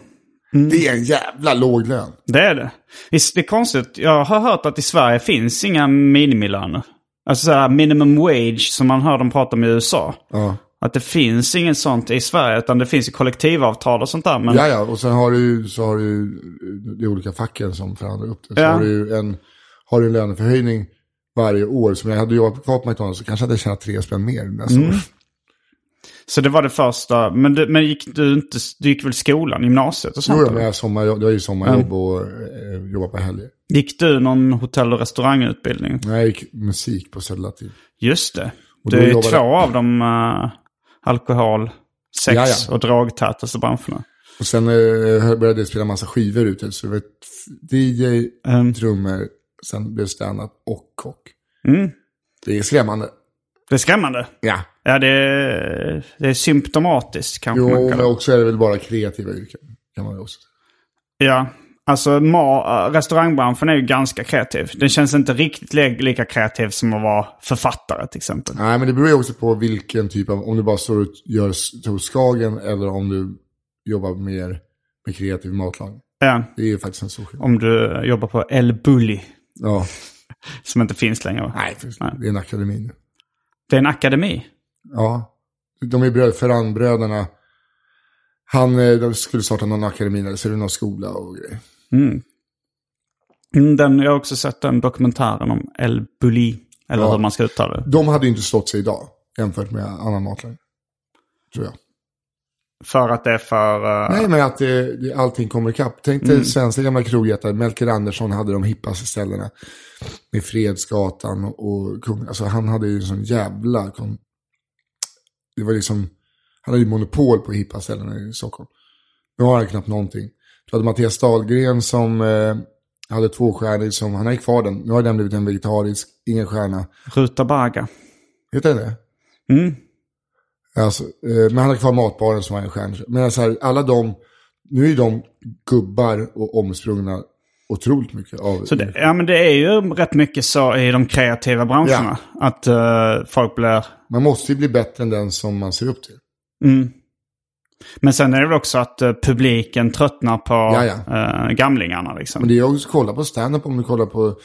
Det är en jävla låg lön.
Det är det. Visst, Det är konstigt. Jag har hört att i Sverige finns inga minimilöner. Alltså så här minimum wage som man hör dem prata om i USA.
Ja.
Att det finns inget sånt i Sverige utan det finns ju kollektivavtal och sånt där. Men
Ja, ja, och sen har du ju- så har du ju de olika facken som förhandlar upp det. Så
Ja.
har du ju en, har du en löneförhöjning varje år. Så om jag hade jobbat kvar på McDonalds så kanske jag hade tjänat tre spänn mer nästa år.
Så det var det första. Men, du, men gick du inte, du gick väl skolan, gymnasiet och sånt?
Jo, men
eller?
jag sommarjobb, det var ju sommarjobb och eh, jobba på helger.
Gick du någon hotell och restaurangutbildning?
Nej, jag gick musik på Södra Latin.
Just det.
Och
Det
då
är ju
jobbade-
två av dem eh, alkohol, sex
Ja, ja.
och drogtätaste branscherna.
Och sen eh, började jag spela massa skivor ute. Så det var ett f- DJ,
Mm.
trummor, sen blev det standup och kock.
Mm.
Det är skrämmande.
Det är skrämmande.
Ja.
Ja, det är, det är symptomatiskt kanske
Jo,
man
men
kan
också är det väl bara kreativa yrken. Kan man ju också. säga.
Ja. Alltså ma- restaurangbranschen är ju ganska kreativ. Den känns inte riktigt li- lika kreativ som att vara författare till exempel.
Nej, men det beror ju också på vilken typ av, om du bara står och gör toskagen eller om du jobbar mer med kreativ matlagning.
Ja.
Det är ju faktiskt en stor skillnad.
Om du jobbar på El Bulli,
Ja,
som inte finns längre. va?
nej, först- det är en akademi nu.
Det är en akademi.
Ja, de är bröd, Ferrandbröderna. Han eh, de skulle starta någon akademi eller så är det någon skola och grejer.
Mm, Den, jag har också sett den dokumentären om El Bulli, eller
Ja.
hur man ska uttala det.
De hade ju inte stått sig idag jämfört med annan matlagning. Tror jag.
För att det är för... eh,
Nej, men att det, det, allting kommer ikapp. Tänk dig svenska gamla krogjättar. Melker Andersson hade de hippaste ställena. Med Fredsgatan och kung. Alltså han hade ju en sån jävla... Kon... Det var liksom... Han hade ju monopol på hippa ställen i Stockholm. Nu har han knappt någonting. Du hade Mattias Dahlgren som eh, hade två stjärnor som... Han har ju kvar den. Nu har den blivit en vegetarisk. Ingen stjärna.
Ruta Baga.
Heter den det?
Mm.
Alltså, eh, men han har kvar matbaren som var en stjärna. Men så här, alla de, nu är de gubbar och omsprungna otroligt mycket av...
Så det, ja, men det är ju rätt mycket så i de kreativa branscherna. Att eh, folk blir...
Man måste ju bli bättre än den som man ser upp till.
Mm. Men sen är det väl också att eh, publiken tröttnar på
Ja, ja.
eh, gamlingarna. Liksom.
Men det är också, kolla på stand-up om du kollar på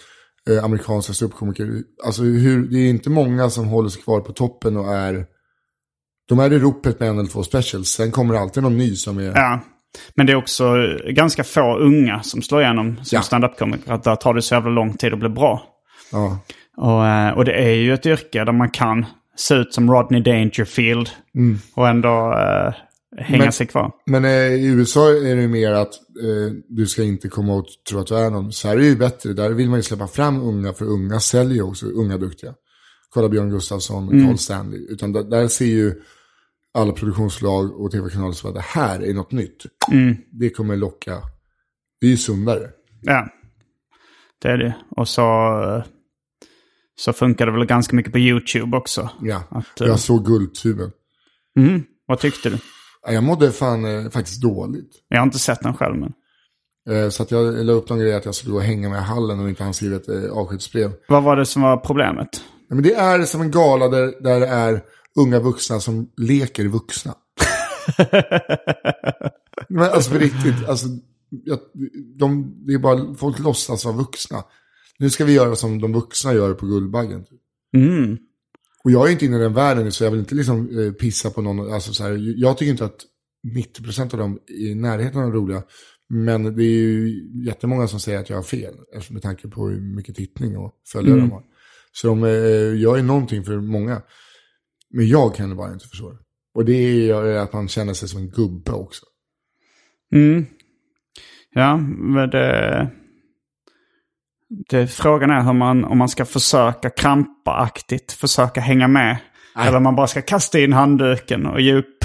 eh, amerikanska ståuppkomiker. Alltså hur, det är inte många som håller sig kvar på toppen och är... De är i ropet med en eller två specials. Sen kommer det alltid någon ny som är...
Ja. Men det är också eh, ganska få unga som slår igenom som
Ja.
standup-komiker. Att där tar det så jävla lång tid att bli bra.
Ja.
Och, eh, och det är ju ett yrke där man kan se ut som Rodney Dangerfield och ändå eh, hänga
Mm. Men-
sig kvar.
Men eh, i USA är det ju mer att eh, du ska inte komma och tro att du är någon. Sverige är ju bättre. Där vill man ju släppa fram unga, för unga säljer ju också, unga duktiga. Kolla Björn Gustafsson,
Mm.
Carl Stanley. Utan där, där ser ju alla produktionslag och tv-kanaler som att det här är något nytt.
Mm.
Det kommer locka. Det är ju sundare.
Ja, det är det. Och så, eh, så funkar det väl ganska mycket på YouTube också.
Ja.
Att, eh,
Jag såg Guldtuben.
Mm, vad tyckte du?
Ja, Jag mådde fan eh, faktiskt dåligt.
Jag har inte sett den själv men.
Eh, så att jag la upp någon grej att jag skulle gå och hänga med i hallen om inte han skrev ett eh, avskedsbrev.
Vad var det som var problemet?
Nej, men det är som en gala där, där det är unga vuxna som leker vuxna. men alltså på riktigt, alltså, jag, de, det är bara folk låtsas vara vuxna. Nu ska vi göra som de vuxna gör på Guldbaggen. typ.
Mm.
Och jag är inte inne i den världen så jag vill inte liksom eh, pissa på någon. Alltså, så här, jag tycker inte att 90% av dem i närheten är roliga. Men det är ju jättemånga som säger att jag har fel. eftersom- Med tanke på hur mycket tittning och följare de har. Så de eh, gör ju någonting för många. Men jag kan det bara inte förstå det. Och det är ju eh, att man känner sig som en gubbe också.
Mm. Ja, men det... det... Frågan är hur man, om man ska försöka krampaktigt försöka hänga med Eller man bara ska kasta in handduken och ge upp.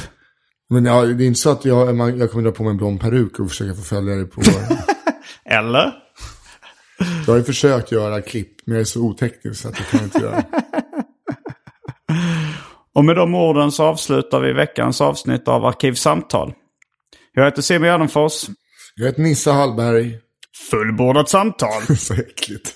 Men ja, det är inte så att jag, man- jag kommer dra på mig en blond peruk och försöka förfölja dig på...
Eller?
jag har ju försökt göra klipp, men jag är så oteknisk så att jag kan inte göra.
Och med de orden så avslutar vi veckans avsnitt av Arkivsamtal. Jag heter Simon Gärdenfors.
Jag heter Nissa Hallberg.
Fullbordat samtal!
så äckligt.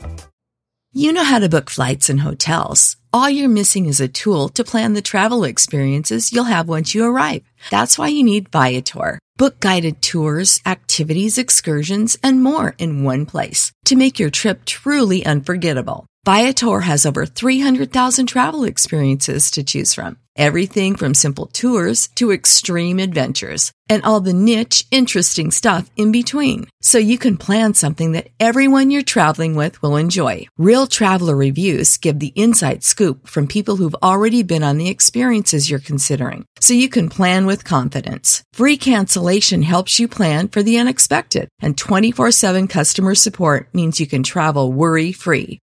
You know how to book flights and hotels. All you're missing is a tool to plan the travel experiences you'll have once you arrive. That's why you need Viator. Book guided tours, activities, excursions, and more in one place to make your trip truly unforgettable. Viator has over 300,000 travel experiences to choose from. Everything from simple tours to extreme adventures and all the niche, interesting stuff in between. So you can plan something that everyone you're traveling with will enjoy. Real traveler reviews give the inside scoop from people who've already been on the experiences you're considering. So you can plan with confidence. Free cancellation helps you plan for the unexpected and 24 7 customer support means you can travel worry free.